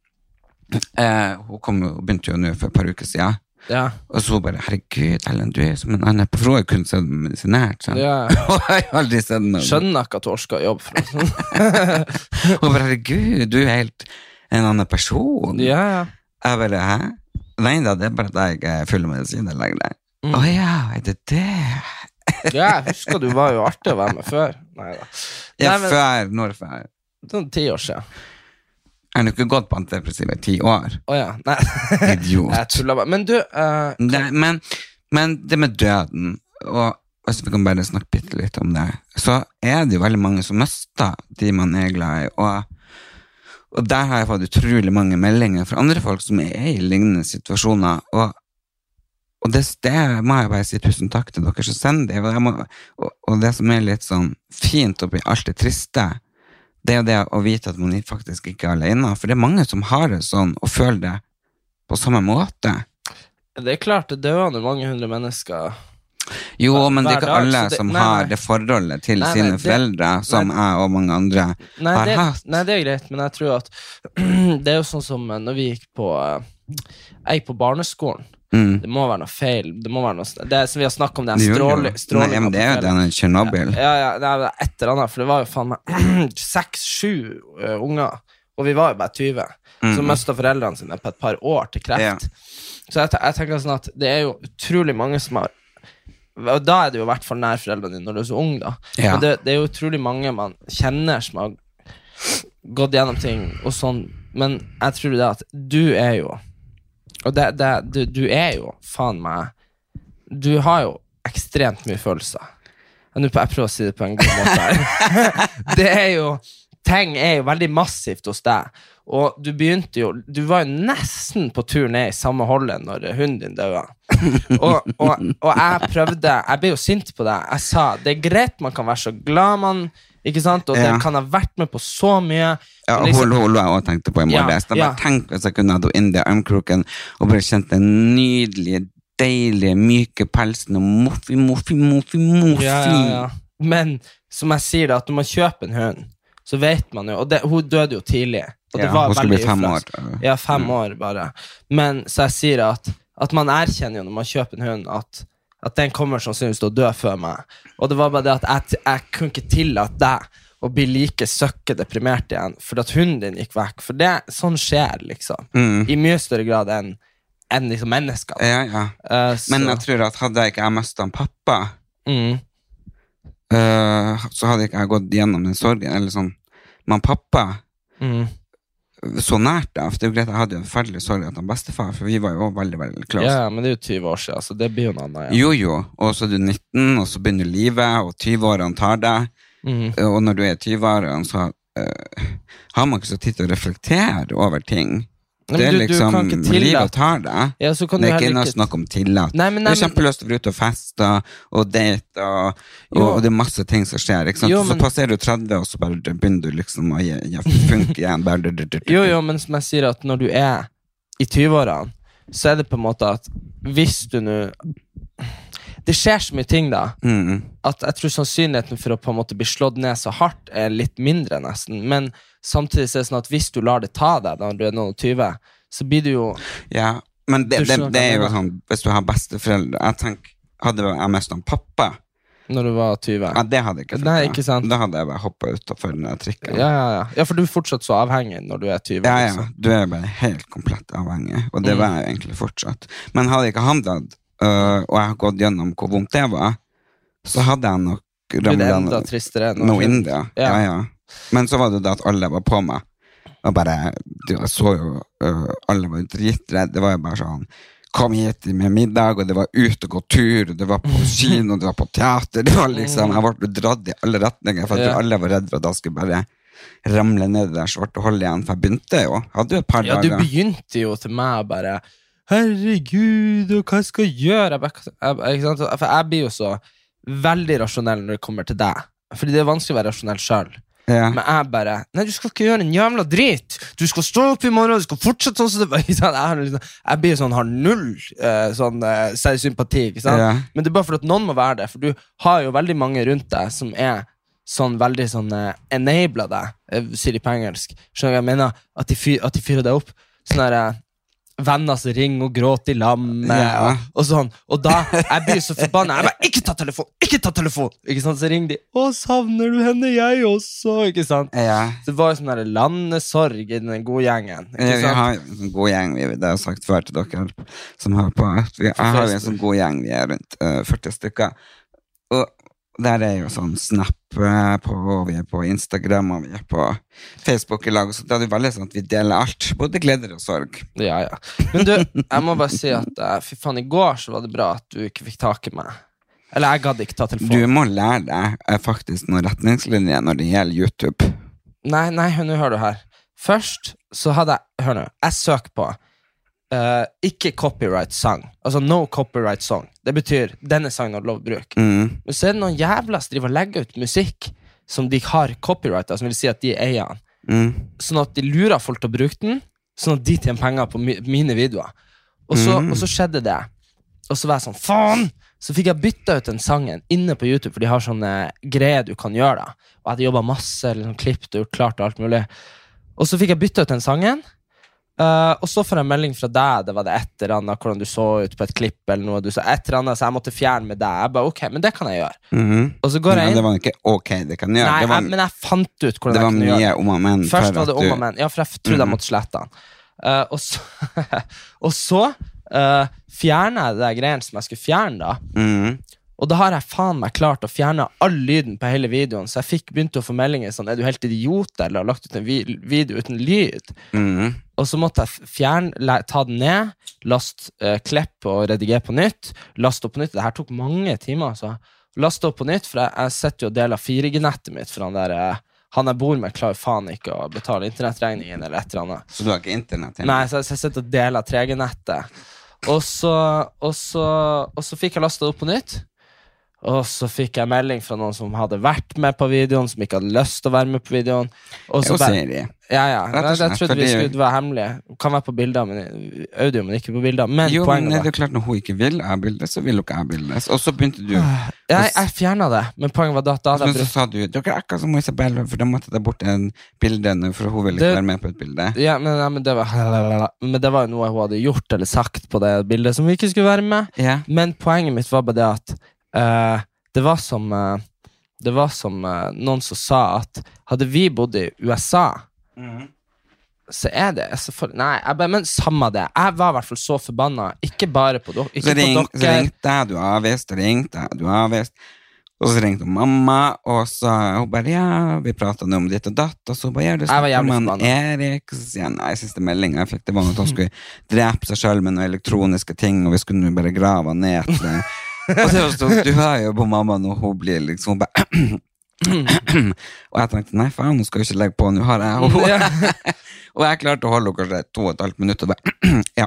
S1: Eh, hun, kom, jo- begynte jo nå for et par uker siden.
S2: Ja,
S1: Og så bare 'Herregud, Ellen, du er som en annen For hun har jo kun sett den medisinert. sant?
S2: ja.
S1: Hun har jo aldri sett den.
S2: Skjønner ikke at du orker å jobbe for oss.
S1: Hun bare 'Herregud, du er helt en annen person'.
S2: Ja, ja.
S1: Jeg bare, hæ? Nei da, det er bare at jeg er full av medisin og legger deg.
S2: Mm.
S1: Å ja, er det det?
S2: ja, jeg husker du var jo artig å være med før. Neida.
S1: Ja,
S2: Nei, men-
S1: før, når før?
S2: Sånn ti år siden.
S1: Jeg har jo ikke gått på antidepressiva i ti år.
S2: Å ja. Nei, jeg
S1: Idiot.
S2: tuller bare. Men du, eh,
S1: Nei, men, men det med døden, og hvis vi kan bare snakke bitte litt om det, så er det jo veldig mange som mister de man er glad i, og, og der har jeg fått utrolig mange meldinger fra andre folk som er i lignende situasjoner, og Og det, det må jeg bare si tusen takk til dere som sender det. Og, jeg må, og, og det som er litt sånn fint oppi alt det triste, det er jo det å vite at man faktisk ikke er alene. For det er mange som har det sånn, og føler det på samme måte.
S2: det er klart det dør jo mange hundre mennesker.
S1: Jo,
S2: Hver-
S1: men det er
S2: hver
S1: ikke
S2: dag,
S1: alle
S2: så det-
S1: som
S2: nei,
S1: har
S2: nei.
S1: det forholdet til
S2: Nei, nei,
S1: sine
S2: det-
S1: foreldre, som jeg og mange andre
S2: Nei,
S1: har
S2: det,
S1: hatt.
S2: nei, det er greit, men jeg tror at det er jo sånn som eh, når vi gikk på eh, Jeg gikk på barneskolen.
S1: mm.
S2: Det må være noe feil. Det må være noe, sn- det er som vi har snakket om, det
S1: Det
S2: er
S1: gjør jo-
S2: stråling.
S1: Nei, men det er jo den i Tsjernobyl.
S2: Ja, ja, nei, men et eller annet, for det var jo faen meg seks-sju eh, unger, og vi var jo bare 20, som mista foreldrene sine på et par år til kreft.
S1: Mm. Ja.
S2: Så jeg, te- jeg tenker sånn at det er jo utrolig mange som har og Da er det jo i hvert fall nær foreldrene dine når du er så ung, da.
S1: Ja.
S2: Men det, det er jo utrolig mange man kjenner som har gått gjennom ting og sånn, men jeg tror det at du er jo Og det, det, du, du er jo faen meg Du har jo ekstremt mye følelser. Jeg, nå prø- jeg prøver å si det på en god måte her. det er jo ting er jo veldig massivt hos deg. Og du begynte jo Du var jo nesten på tur ned i samme holdet når hunden din døde. Og, og, og jeg prøvde Jeg ble jo sint på deg. Jeg sa det er greit, man kan være så glad man Ikke sant? Og det
S1: Ja.
S2: kan ha vært med på så mye.
S1: Ja, og
S2: Liksom-
S1: hun hun lå jeg også tenkte på i
S2: Ja,
S1: morges. Jeg
S2: ja.
S1: bare Tenk hvis jeg kunne hatt henne inn i armkroken og bare kjent den nydelige, deilige, myke pelsen og moffi, moffi, moffi, moffi.
S2: Ja, ja, ja. Men som jeg sier, da, at når man kjøper en hund, så vet man jo Og det, hun døde jo tidlig. Og det
S1: Ja,
S2: var
S1: hun skulle
S2: veldig
S1: bli fem
S2: uflaks.
S1: år. Mm.
S2: Ja, fem år bare. Men så jeg sier at, at man erkjenner jo når man kjøper en hund, at, at den kommer sannsynligvis til å dø før meg. Og det var bare det at jeg, t- jeg kunne ikke tillate deg å bli like søkke deprimert igjen fordi at hunden din gikk vekk. For det, sånn skjer, liksom. I mye større grad enn enn liksom mennesker.
S1: Mm. Ja, ja.
S2: Eh, så-
S1: Men jeg tror at hadde jeg ikke jeg mistet han pappa,
S2: mm,
S1: øh, så hadde ikke jeg gått gjennom den sorgen. Eller sånn. Men pappa,
S2: mm,
S1: så nært da, for det er jo greit, jeg hadde jo en forferdelig sorg at han bestefar, for vi var jo også veldig, veldig close.
S2: ja, men det er jo 20 år siden, så det blir jo noe annet. Ja.
S1: altså. Jo, jo, og så er du 19, og så begynner livet, og 20-årene tar deg.
S2: Mhm.
S1: Og når du er 20-årene, så eh, har man ikke så tid til å reflektere over ting.
S2: Nei, men
S1: det er
S2: du- du
S1: liksom
S2: kan ikke tillate-
S1: Livet tar deg.
S2: Ja, så kan
S1: det
S2: du
S1: er ikke
S2: heller
S1: noe
S2: ikke-
S1: snakk om tillat.
S2: Nei, men-
S1: du
S2: nei,
S1: har
S2: men-
S1: kjempelyst til å være ute og feste og date, og, og,
S2: Jo.
S1: og det er masse ting som skjer. Ikke sant?
S2: Jo,
S1: Så
S2: men-
S1: passerer du 30, og så bare begynner du liksom å gi- gi funk igjen. Bare, du- du- du- du-
S2: Jo, jo, men som jeg sier at når du er i 20-årene, så er det på en måte at hvis du nå Det skjer så mye ting, da,
S1: Mm.
S2: at jeg tror sannsynligheten for å på en måte bli slått ned så hardt er litt mindre, nesten. Men samtidig så er det sånn at hvis du lar det ta deg når du er noen og 20, så blir du jo
S1: Ja, men
S2: Du
S1: det, det,
S2: skjønner hva
S1: det er
S2: jeg
S1: jo
S2: mener.
S1: sånn, hvis du har besteforeldre Jeg tenker, hadde jeg mest en pappa
S2: Når du var 20.
S1: Ja, det hadde jeg ikke funnet.
S2: Nei, ikke sant.
S1: Da hadde jeg bare hoppa utafor den der trikken.
S2: Ja, ja, ja. ja, for du er fortsatt så avhengig når du er 20.
S1: Ja, ja,
S2: liksom.
S1: Du er bare helt komplett avhengig, og
S2: Mm.
S1: det var jeg jo egentlig fortsatt. Men hadde ikke han dødd, øh, og jeg har gått gjennom hvor vondt det var, så hadde jeg nok
S2: Blir det enda
S1: ramla
S2: tristere enn
S1: noe inn der. Ja.
S2: Ja.
S1: Ja, Men så var det jo det at alle var på meg, og bare du, Jeg så jo øh, Alle var dritredde. Det var jo bare sånn Kom hit med middag, og det var ut og gå tur, og det var på kino, og det var på teater. Det var liksom, Jeg ble dratt i alle retninger, for jeg
S2: Mm. Ja.
S1: tror alle var redd for at jeg skulle bare ramle ned i det der svarte hullet igjen, for jeg begynte jo. Hadde jo et par
S2: Ja, du
S1: dager.
S2: begynte jo til meg og bare Herregud, og hva skal jeg gjøre? Jeg, bare- jeg, ikke sant? For jeg blir jo så veldig rasjonell når det kommer til deg. Fordi det er vanskelig å være rasjonell sjøl.
S1: Ja.
S2: Men jeg bare Nei, du skal ikke gjøre en jævla drit! Du skal stå opp i morgen, du skal fortsette sånn som det var. Ikke sant? Jeg, har liksom, jeg blir jo sånn, har null eh, sånn eh, særlig sympati. Ikke sant?
S1: Ja.
S2: Men det er bare fordi at noen må være det, for du har jo veldig mange rundt deg som er sånn veldig sånn eh, enabla deg, eh, sier de på engelsk. Skjønner du hva jeg mener? At de, fyr, at de fyrer deg opp. Sånne der, eh, venner som ringer og gråter i lam
S1: Ja.
S2: og, og sånn. Og da jeg blir så forbanna. Jeg bare 'Ikke ta telefon! Ikke ta telefon!' Ikke sant? Så ringer de. 'Å, savner du henne? Jeg også.' Ikke sant?
S1: Ja.
S2: Så det var jo sånn der landesorg i den gode gjengen.
S1: Ja,
S2: Ikke
S1: Vi
S2: sant?
S1: har jo en sånn god gjeng, vi- det har jeg sagt før til dere som hører på. at Vi, jeg har jo en sånn god gjeng, vi er rundt eh, 40 stykker. Og der er jo sånn Snap eh, på, og vi er på Instagram, og vi er på Facebook i lag. og Så det er jo veldig sånn at vi deler alt, både gleder og sorg.
S2: Ja, ja. Men du, jeg må bare si at eh, fy faen, i går så var det bra at du ikke fikk tak i meg. Eller jeg gadd ikke ta
S1: Du
S2: telefonen.
S1: må lære deg eh, faktisk noen retningslinjer når det gjelder YouTube.
S2: Nei, nei, hør nå hører du her. Først så hadde jeg Hør nå. Jeg søker på eh, ikke copyright sang. Altså no copyright song. Det betyr denne sangen har lov å bruke.
S1: Mm.
S2: Men så er det noen jævla som driver og legger ut musikk som de har copyrighta, som vil si at de eier den.
S1: Mm.
S2: sånn at de lurer folk til å bruke den, sånn at de tjener penger på mi mine videoer. Og så, og så skjedde det. Og så var jeg sånn, faen! Så fikk jeg bytta ut den sangen inne på YouTube, for de har sånne greier du kan gjøre. da. Og jeg hadde jobba masse, liksom, klippet og gjort klart og alt mulig. Og så fikk jeg bytta ut den sangen. eh, og så får jeg en melding fra deg. Det var det et eller annet hvordan du så ut på et klipp. eller noe, du sa et eller annet, Så jeg måtte fjerne med deg. Jeg bare, ok, men det kan jeg gjøre.
S1: Mhm.
S2: Og så går
S1: Men
S2: jeg
S1: det
S2: inn.
S1: var ikke ok, det kan jeg gjøre.
S2: Nei,
S1: det var,
S2: jeg, men jeg fant ut hvordan
S1: det var
S2: jeg kunne gjøre
S1: mye om Mm-hmm. og men.
S2: Først
S1: for
S2: var
S1: at
S2: det
S1: du-
S2: om og men. Ja, for jeg f- trodde jeg måtte slette den. Eh, og så, og så eh, fjerner jeg det der greien som jeg skulle fjerne, da.
S1: Mhm.
S2: Og da har jeg faen meg klart å fjerne all lyden på hele videoen, så jeg fikk begynte å få meldinger sånn Er du helt idiot, eller har lagt ut en vi video uten lyd?
S1: Mhm.
S2: Og så måtte jeg f- fjerne, la- ta den ned, last eh, klepp og redigere på nytt. Last opp på nytt. Det her tok mange timer. altså. Last opp på nytt, for jeg, jeg setter jo del av 4G-nettet mitt fra den der eh, han jeg bor med, klarer faen ikke å betale internettregningen eller et eller annet.
S1: Så du har ikke internett? hjemme?
S2: Nei, så jeg, så jeg sitter og deler 3G-nettet. Og så, og, så, og så fikk jeg lasta det opp på nytt. Og så fikk jeg melding fra noen som hadde vært med på videoen, som ikke hadde lyst til å være med på videoen. Og
S1: Jo,
S2: så bare-
S1: sier de.
S2: ja, ja.
S1: og
S2: Jeg, jeg
S1: slett,
S2: trodde vi
S1: fordi-
S2: skulle være hemmelige. Kan være på bilder, men audio, men ikke på bilder. Men
S1: Jo, men
S2: poenget
S1: det
S2: var
S1: er jo klart, når hun ikke vil avbildes, så vil hun ikke avbildes. Og så begynte du
S2: Jeg, jeg fjerna Ah, det, men poenget var da at da hadde
S1: Men
S2: jeg
S1: så
S2: brukt
S1: sa du dere er akkurat som Isabel, for da måtte jeg ta bort en bildene, for hun ville ikke
S2: Det-
S1: være med på et bilde.
S2: ja, men, ja, men, det var, men det var jo noe hun hadde gjort eller sagt på det bildet som vi ikke skulle være med.
S1: Ja.
S2: Men poenget mitt var bare det at eh, det var som, eh, det var som eh, noen som sa at hadde vi bodd i USA
S1: Mhm.
S2: Så er det så for, Nei, jeg bare, men samme det. Jeg var i hvert fall så forbanna. Ikke bare på, dere-
S1: Så,
S2: ikke
S1: ring,
S2: på
S1: så
S2: dere.
S1: ringte jeg, du er avvist, ringte jeg, du er avvist. Og så ringte hun mamma, og så hun bare ja, vi prata nå om ditt og datt. Og så hun bare ja, du
S2: Jeg var
S1: snakker
S2: jævlig
S1: med han
S2: forbanna.
S1: Erik. Og så sier jeg nei, siste meldinga jeg fikk, det var at han skulle drepe seg sjøl med noen elektroniske ting, og vi skulle nå bare grave han ned. etter det. og så var det sånn, du hører jo på mamma når hun blir liksom hun bare Og jeg tenkte nei, faen, hun skal jo ikke legge på, nå har jeg henne.
S2: Ja.
S1: Og jeg klarte å holde henne kanskje to og et halvt minutt og bare ja.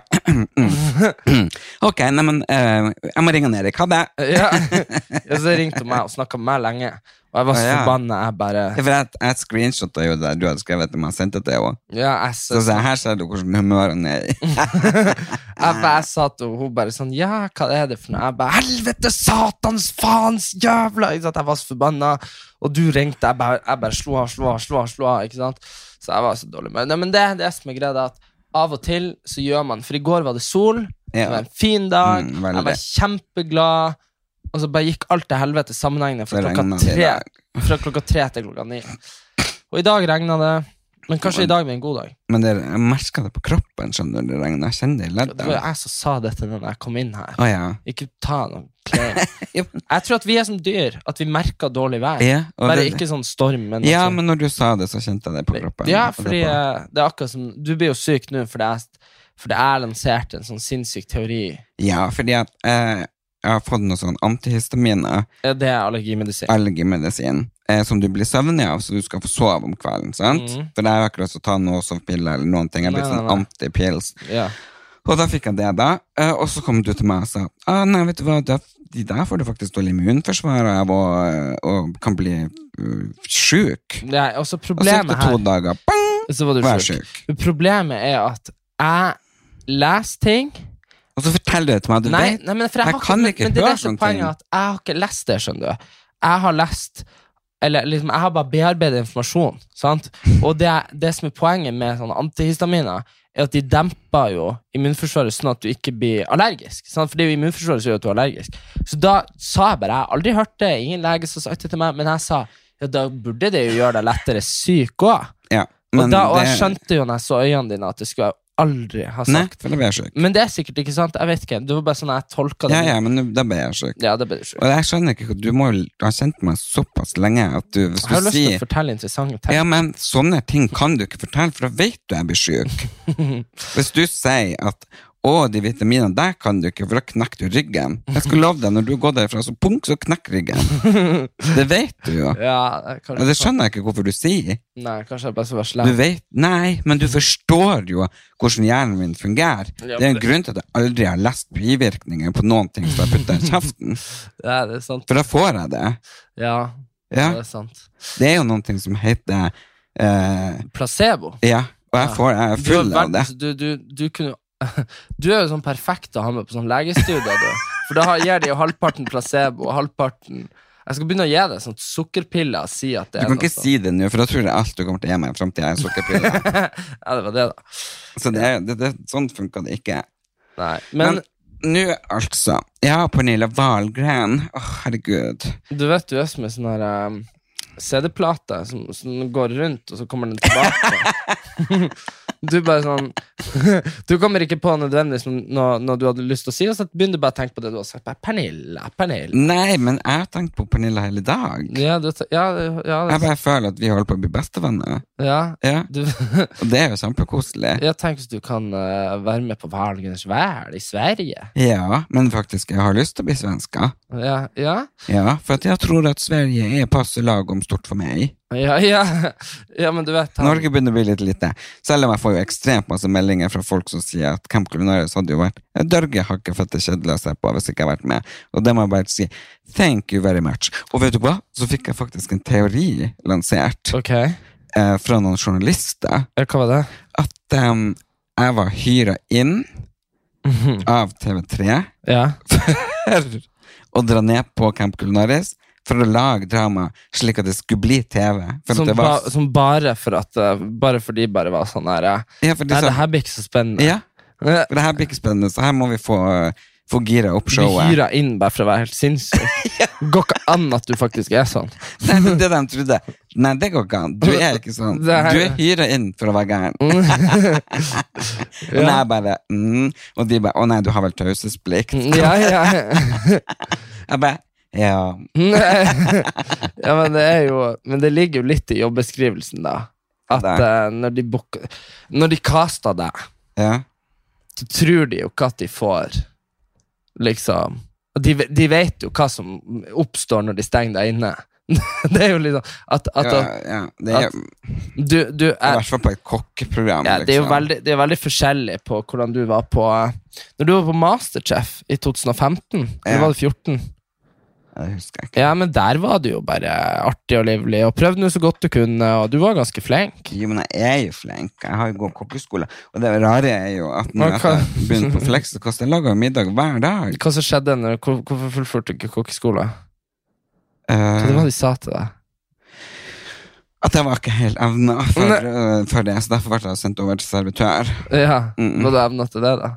S1: ok, neimen, uh, jeg må ringe han Erik. Ha det.
S2: Eh, Ja. ja, så ringte hun meg og snakka med meg lenge. Og jeg var så
S1: Å, ja.
S2: forbanna. Jeg bare
S1: Det er fordi at jeg screenshotta jo det du hadde skrevet til meg, og sendte det til henne.
S2: ja, jeg,
S1: Så
S2: s-
S1: sa jeg, her ser du hvordan humøret han er i.
S2: jeg, for jeg sa til henne, hun bare sånn Ja, hva er det for noe? Jeg bare Helvete, satans, faens, jævla Ikke sant? Jeg var så forbanna. Og du ringte, jeg bare, jeg bare slo av, slo av, slo av. slo av, ikke sant? Så jeg var så dårlig. Men, nei, men det, det som er greia, det er at av og til så gjør man For i går var det sol. Det var
S1: Ja.
S2: en fin dag.
S1: Mm, veldig.
S2: jeg var kjempeglad. Og så bare gikk alt til helvete sammenhengende fra
S1: Det
S2: klokka
S1: regnet i
S2: tre
S1: dag.
S2: Fra klokka tre til klokka ni. Og i dag regna det. Men kanskje i dag blir en god dag.
S1: Men det, jeg merka det på kroppen skjønner du, det regner. Jeg kjenner det i
S2: Det var jo
S1: leddene.
S2: jeg som sa det til den da jeg kom inn her.
S1: Å ja.
S2: Ikke ta noen klær.
S1: Ja, men-
S2: Jeg tror at vi er som dyr, at vi merker dårlig vær.
S1: Ja, og
S2: Bare
S1: det-
S2: ikke sånn storm, men
S1: ja,
S2: at sånn-
S1: men når du sa det, så kjente jeg det på kroppen.
S2: Ja,
S1: Og det
S2: fordi
S1: på-
S2: eh, det er akkurat som Du blir jo syk nå fordi jeg, fordi jeg lanserte en sånn sinnssyk teori.
S1: ja, fordi at eh, jeg har fått noe sånn antihistaminer.
S2: Ja, Det er allergimedisin.
S1: algemedisin eh, som du blir søvnig av, så du skal få sove om kvelden. sant?
S2: Mhm.
S1: For det er jo akkurat som å ta noe som piller eller noen ting. Jeg blir
S2: Nei, nei,
S1: sånn
S2: nei.
S1: antipils.
S2: Ja.
S1: Og da fikk jeg det, da. Eh, og så kom du til meg og sa ah, nei, vet du hva, da, de der får du faktisk dårlig immunforsvar av og, og kan bli uh, sjuk.
S2: Det er også
S1: Og så gikk
S2: problemet
S1: det to
S2: her.
S1: dager. Bang!
S2: Så var du
S1: Vær
S2: sjuk.
S1: sjuk.
S2: Men Problemet er at jeg leser ting
S1: Og så forteller du til meg at du
S2: Nei,
S1: vet
S2: nei men for jeg,
S1: Jeg
S2: har
S1: kan
S2: ikke, men-
S1: ikke
S2: men det er
S1: høre
S2: det som er
S1: sånne ting.
S2: poenget at jeg har ikke lest det, skjønner du. Jeg har lest Eller liksom, jeg har bare bearbeidet informasjon. Sant? Og det, det som er poenget med sånne antihistaminer, er at de demper jo immunforsvaret sånn at du ikke blir allergisk. Sant? For det er jo immunforsvaret som gjør at du er allergisk. Så da sa jeg bare Jeg har aldri hørt det, ingen lege som har sagt det til meg, men jeg sa ja, da burde det jo gjøre deg lettere syk òg.
S1: ja,
S2: Og, da- og jeg
S1: det-
S2: skjønte jo når jeg så øynene dine, at det skulle jeg aldri ha
S1: Nei,
S2: sagt.
S1: for da ble jeg sjuk.
S2: Men det er sikkert ikke sant. Jeg vet ikke, Det var bare sånn jeg tolka det.
S1: Ja, ja, men da ble jeg sjuk.
S2: Ja, det ble sjukt.
S1: Og jeg skjønner ikke, du må jo ha kjent meg såpass lenge at du, hvis
S2: Jeg
S1: du
S2: har jo lyst til
S1: sier
S2: å fortelle interessante ting.
S1: Ja, men sånne ting kan du ikke fortelle, for da vet du jeg blir syk. Hvis du sier at å, de vitaminene der kan du ikke, for da knekker du ryggen. Jeg skulle love deg, når du går derfra, så punk, så knekker ryggen. Det vet du jo.
S2: Ja,
S1: Og
S2: kanskje,
S1: det skjønner jeg ikke hvorfor du sier.
S2: Nei, kanskje jeg bare skal være
S1: Du
S2: slem.
S1: vet, Nei, men du forstår jo hvordan hjernen min fungerer. Det er en grunn til at jeg aldri har lest bivirkninger på noen ting som jeg putter i kjeften.
S2: Ja, det er sant.
S1: For da får jeg det.
S2: Ja,
S1: Ja,
S2: det er sant.
S1: Det er jo noen ting som heter eh,
S2: Placebo.
S1: Ja, og jeg, får, jeg er
S2: Du, er
S1: full av det.
S2: verdens- du, du, du, kunne, du er jo sånn perfekt å ha med på sånn legestudie, du. For da har- gir de jo halvparten placebo og halvparten Jeg skal begynne å gi deg sånn sukkerpiller og si at det
S1: Du
S2: er
S1: kan ikke
S2: sånt.
S1: si det nå, for da tror jeg alt du kommer til å gi meg frem til jeg er sukkerpille.
S2: sånn. Ja, det var det, da.
S1: Så det, er- det, det, sånn funka det ikke.
S2: Nei.
S1: Men
S2: Men,
S1: nå, altså. Ja, Pernille Wahlgren. Åh, herregud.
S2: du vet du er som en sånn her um, CD-plate som, som går rundt, og så kommer den tilbake. du bare sånn Du kommer ikke på nødvendigvis noe, noe du hadde lyst til å si, og så begynner du bare å tenke på det du har sagt. Bare, Pernilla, Pernilla.
S1: Nei, men jeg har tenkt på Pernille hele dag.
S2: Ja, du, ja, ja,
S1: Jeg bare føler at vi holder på å bli bestevenner.
S2: ja,
S1: Ja,
S2: du,
S1: Og det er jo kjempekoselig.
S2: ja, tenk hvis du kan eh, være med på Valgrens Væl i Sverige.
S1: Ja, men faktisk, jeg har lyst til å bli svenska.
S2: Ja, ja.
S1: Ja, for at jeg tror at Sverige er passe lagom stort for meg.
S2: Ja, ja. ja, men du vet han-
S1: Norge begynner å bli litt lite. Selv om jeg får jo ekstremt masse meldinger fra folk som sier at Camp Culinaris hadde jo vært en dørgehakefette kjedelig å se på hvis ikke jeg har vært med. Og det må jeg bare si thank you very much. Og vet du hva? Så fikk jeg faktisk en teori lansert
S2: Ok, ja,
S1: eh, fra noen journalister
S2: hva var det?
S1: at em, jeg var hyra inn
S2: Mhm.
S1: av TV3
S2: Ja.
S1: for å dra ned på Camp Culinaris for å lage drama slik at det skulle bli TV. For at
S2: Som,
S1: det var,
S2: ba, som bare for at eh, Bare fordi bare var sånn her eh,
S1: ja, for de
S2: Nei,
S1: sa-
S2: det her blir ikke så spennende.
S1: ja,
S2: Eh,
S1: For det her blir ikke spennende, så her må vi få, få gira opp
S2: Du
S1: showet.
S2: hyra inn bare for å være helt sinnssyk. Går ikke an at du faktisk er sånn.
S1: Nei, men det de trodde Nei, det går ikke an. Du er ikke sånn. Du
S2: Det her- Mm.
S1: er hyra inn for å være gæren. Og jeg bare mm. Og de bare Å nei, du har vel taushetsplikt?
S2: Ja, ja.
S1: Jeg bare Ja.
S2: ja men, det er jo, men det ligger jo litt i jobbeskrivelsen, da. At
S1: Det.
S2: eh, når de book, Når de caster deg,
S1: ja.
S2: så tror de jo ikke at de får Liksom og de, de vet jo hva som oppstår når de stenger deg inne. det er jo liksom at, at,
S1: ja, ja. Det er
S2: at- du, du
S1: i
S2: er
S1: hvert fall på et kokkeprogram.
S2: Ja, det er jo
S1: liksom.
S2: veldig, det er veldig forskjellig på hvordan du var på eh, Når du var på Masterchef i 2015,
S1: Ja.
S2: eller var det 14?
S1: Jeg husker ikke.
S2: Ja, men der var du jo bare artig og livlig, og prøvde nå så godt du kunne, og du var ganske flink.
S1: Jo, men jeg er jo flink. Jeg har jo gått kokkeskole. Og det rare er jo at når
S2: Ok.
S1: jeg begynte på Fleksikost, jeg lager jo middag hver dag.
S2: Hva som skjedde? Når, hvor- hvorfor fullførte du ikke kokkeskolen? Hva
S1: Eh,
S2: det var de sa til deg?
S1: At jeg var ikke helt evna for, øh, for det, så derfor ble jeg sendt over til servitør.
S2: Ja,
S1: Mm.
S2: Var det evna til det, da?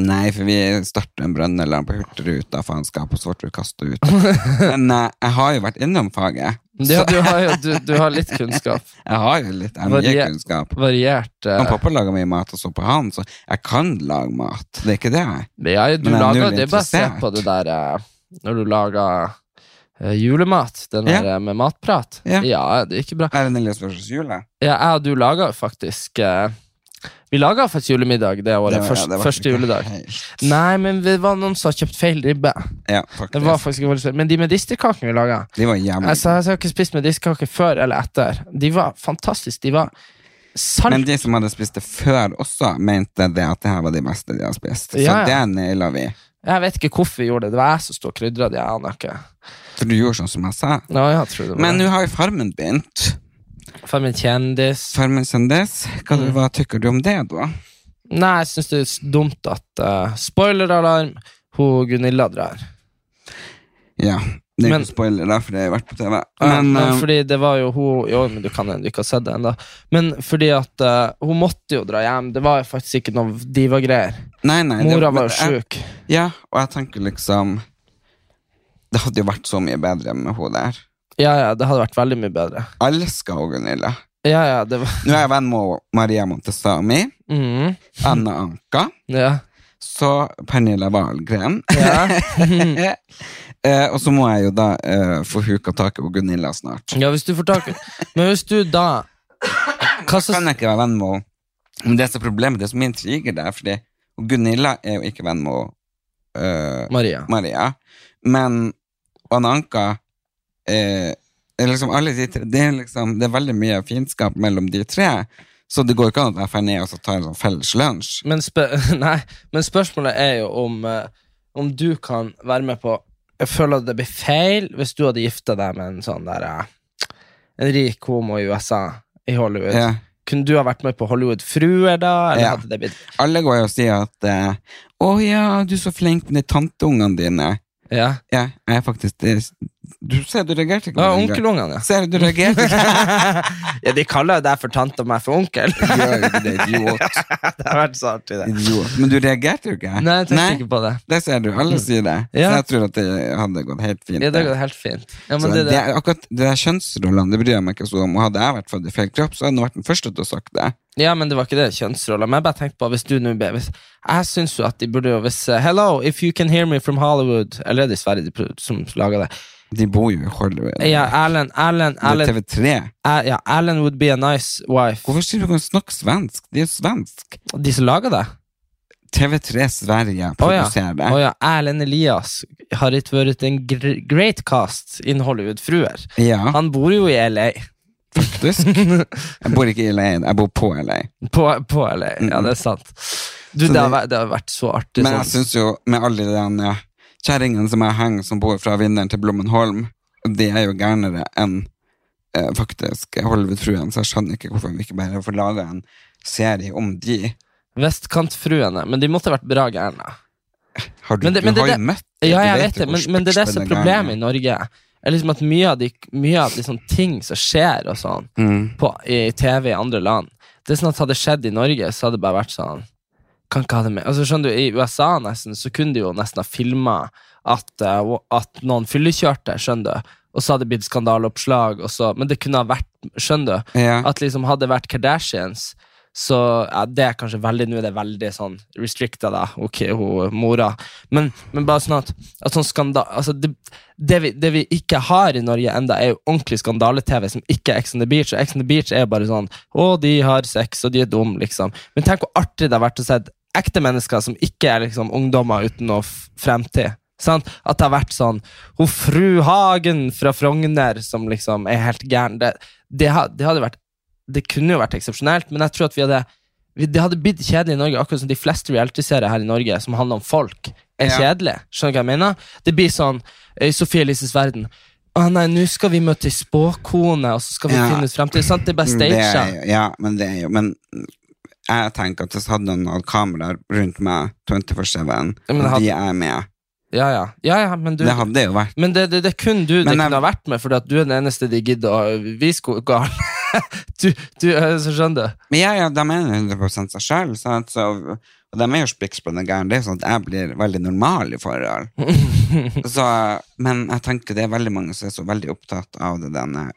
S1: Nei, for vi starter en brønnelarm på Hurtigruten, da faenskap, og så ble vi kasta ut. Men eh, jeg har jo vært innom faget.
S2: Ja, du har jo du, du har litt kunnskap.
S1: Jeg har jo litt
S2: Varie-
S1: MJ-kunnskap.
S2: Variert. eh,
S1: Men pappa lager mye mat, og så på han, så jeg kan lage mat. Det er ikke det.
S2: Ja, du
S1: Men jeg er
S2: lager,
S1: null
S2: det er bare å se
S1: interessert.
S2: på det der eh, når du lager eh, julemat, den
S1: Ja.
S2: der eh, med matprat.
S1: Ja.
S2: det er ikke bra.
S1: Er det Nils Børsens jule?
S2: Ja, jeg og du laga faktisk eh, Vi laga faktisk julemiddag det året.
S1: Det var-
S2: først,
S1: det var
S2: første
S1: ikke
S2: juledag.
S1: helt-
S2: Nei, men det var noen som har kjøpt feil ribbe.
S1: Ja,
S2: Det var
S1: faktisk.
S2: faktisk ikke vår feil. Men de medisterkakene vi laga
S1: De var jævlig
S2: altså, Jeg har ikke spist medisterkaker før eller etter. De var fantastiske. De var
S1: Men
S2: salt.
S1: de som hadde spist det før også, mente det at det her var de beste de har spist. Så
S2: Ja, ja.
S1: det naila vi.
S2: Jeg vet ikke hvorfor vi gjorde det. Det var jeg som sto og krydra de. Jeg aner ikke.
S1: For du gjorde sånn som jeg sa.
S2: Nå, jeg tror det var
S1: Men
S2: det.
S1: nå har jo Farmen begynt.
S2: For min kjendis.
S1: Farmen kjendis. Hva,
S2: Mm.
S1: du- hva tykker du om det, da?
S2: Nei, jeg syns det er s- dumt at eh, Spoiler-alarm! Hun Gunilla drar.
S1: Ja, det er
S2: Men-
S1: ikke spoiler, da, for det har jo vært på TV.
S2: Men,
S1: Men eh,
S2: fordi det var jo hun Jo, men du kan du ikke har sett det ennå. Men fordi at eh, hun måtte jo dra hjem. Det var jo faktisk ikke noe diva-greier.
S1: nei, nei, det- eh,
S2: Mora var jo
S1: jeg-
S2: sjuk.
S1: Ja, og jeg tenker liksom Det hadde jo vært så mye bedre med hun der.
S2: Ja, ja, det hadde vært veldig mye bedre.
S1: Elsker hun Gunilla.
S2: Ja, ja, det var
S1: Nå er jeg venn med hun, Maria Montesami,
S2: mm,
S1: Anna Anka,
S2: Ja.
S1: så Pernilla Wahlgren.
S2: Ja.
S1: Eh, og så må jeg jo da eh, få huka tak i hun Gunilla snart.
S2: ja, hvis du får tak i Men hvis du da Hva så
S1: kan jeg ikke være venn med henne. Men det som er problemet, det er så mye intriger der, fordi og Gunilla er jo ikke venn med henne, øh,
S2: Maria.
S1: Maria. Men og Ananka eh, er liksom alle de tre, det, er liksom, det er veldig mye fiendskap mellom de tre, så det går jo ikke an at jeg drar ned og så tar en sånn felles lunsj.
S2: Men, spø nei, men spørsmålet er jo om, eh, om du kan være med på Jeg føler at det blir feil hvis du hadde gifta deg med en sånn der eh, En rik homo i USA, i Hollywood.
S1: Ja.
S2: Kunne du ha vært med på Hollywood-fruer, da? Eller
S1: Ja.
S2: hadde det blitt
S1: Alle går jo og sier at eh, 'Å ja, du er så flink med de tanteungene dine'.
S2: Ja,
S1: Ja, jeg er faktisk det- Du ser, du reagerte ikke
S2: ja
S1: den gangen.
S2: Onkelungene,
S1: Ser du, du reagerte ikke.
S2: ja. ja. De kaller jo deg for tante og meg for onkel. det
S1: Gjør jo ikke det, idiot.
S2: har vært så artig, det.
S1: idiot. Men du reagerte jo ikke.
S2: Nei, jeg tenkte ikke på det. Mm.
S1: Det ser du, alle sier det.
S2: Ja.
S1: Så jeg tror at det hadde gått helt fint.
S2: Ja, det går helt fint. Ja,
S1: Så
S2: men det,
S1: det
S2: det.
S1: er akkurat det der kjønnsrollene det bryr jeg meg ikke så om. Og hadde jeg vært født i feil kropp, så hadde jeg vært den første til å sagt det.
S2: Ja, men det var ikke det kjønnsroller. Men jeg bare tenkte på hvis du nå ble- hvis, Jeg syns jo at de burde jo hvis eh, Hello, if you can hear me from Hollywood Eller er det Sverige de pro- som lager det?
S1: De bor jo i Hollywood.
S2: Ja, Erlend, Erlend,
S1: Det er
S2: Erlend
S1: TV3.
S2: eh, Ja, Erlend would be a nice wife.
S1: Hvorfor sier du ikke å snakke svensk? De er jo svensk.
S2: De som lager det?
S1: TV3 Sverige
S2: Å ja.
S1: produserer det.
S2: Å ja, Erlend Elias har ikke vært en gr great cast in Hollywood-fruer.
S1: ja.
S2: Han bor jo i LA.
S1: faktisk. Jeg bor ikke i LA, jeg bor på LA.
S2: På, på LA. Ja, det er sant. Du,
S1: Mm. Så
S2: det, har,
S1: det-
S2: vært- det har vært så artig.
S1: Men jeg
S2: sånn.
S1: syns jo, med alle de der, eh, kjerringene som jeg henger, som bor fra Vinderen til Blommenholm, de er jo gærnere enn eh, faktisk Hollywood-fruen, så jeg skjønner ikke hvorfor vi ikke bare får laga en serie om de.
S2: Vestkantfruene. Men de måtte ha vært bra gærne.
S1: Har du,
S2: Men det- men
S1: du
S2: det-
S1: har
S2: det-
S1: jo møtt de,
S2: Ja,
S1: du
S2: jeg
S1: vet
S2: vet
S1: jo
S2: det,
S1: hvor
S2: men, men det er det
S1: spissbende
S2: som er
S1: gærne
S2: problemet i Norge. Er liksom at Mye av de, mye av de sånn ting som skjer og sånn
S1: er. Mm.
S2: på, i TV i andre land Det er sånn at Hadde det skjedd i Norge, så hadde det bare vært sånn Kan ikke ha det med altså, skjønner du, I USA nesten så kunne de jo nesten ha filma at, eh, wo- at noen fyllekjørte, skjønner du. Og så hadde det blitt skandaleoppslag, og så, men det kunne ha vært Skjønner du?
S1: Ja.
S2: At liksom hadde det vært Kardashians så ja, det er kanskje veldig, Nå er det veldig sånn restricta, da. Ok, hun mora. Men, men bare sånn at, at sånn skanda, altså det, det, vi, det vi ikke har i Norge enda er jo ordentlig skandale-TV som ikke er Ex on the Beach. Og Ex on the Beach er bare sånn Å, de har sex, og de er dum, liksom. Men tenk hvor artig det har vært å se ekte mennesker som ikke er liksom ungdommer uten noe f- fremtid. Sant? At det har vært sånn Hun fru Hagen fra Frogner som liksom er helt gæren. Det, det, ha- det hadde vært det kunne jo vært eksepsjonelt, men jeg tror at vi hadde vi- det hadde blitt kjedelig i Norge, akkurat som de fleste reality-serier her i Norge som handler om folk, er
S1: Ja.
S2: kjedelig. Skjønner du hva jeg mener? Det blir sånn eh, Sophie Elises verden. Å nei, nå skal vi møte ei spåkone, og så skal vi
S1: Ja.
S2: finne ut fremtid. Sant? Det er bare
S1: Mm, Det er
S2: staged.
S1: jo- Ja, men det er jo Men jeg tenker at hvis jeg hadde noen kameraer rundt meg 24-7,
S2: Ja, men
S1: og
S2: had-
S1: de er med
S2: Ja, ja. ja, ja men du,
S1: Det hadde jo vært
S2: men det, det, det er kun du det
S1: Men jeg-
S2: kunne ha vært med, fordi at du er den eneste de gidder å vise hvor gal du, du eh, så Skjønner du?
S1: Men ja, ja, de er jo 100 seg sjøl, og de er jo spikkspennende gærne. Det er jo sånn at jeg blir veldig normal i forhold. så, men jeg tenker det er veldig mange som er så veldig opptatt av det denne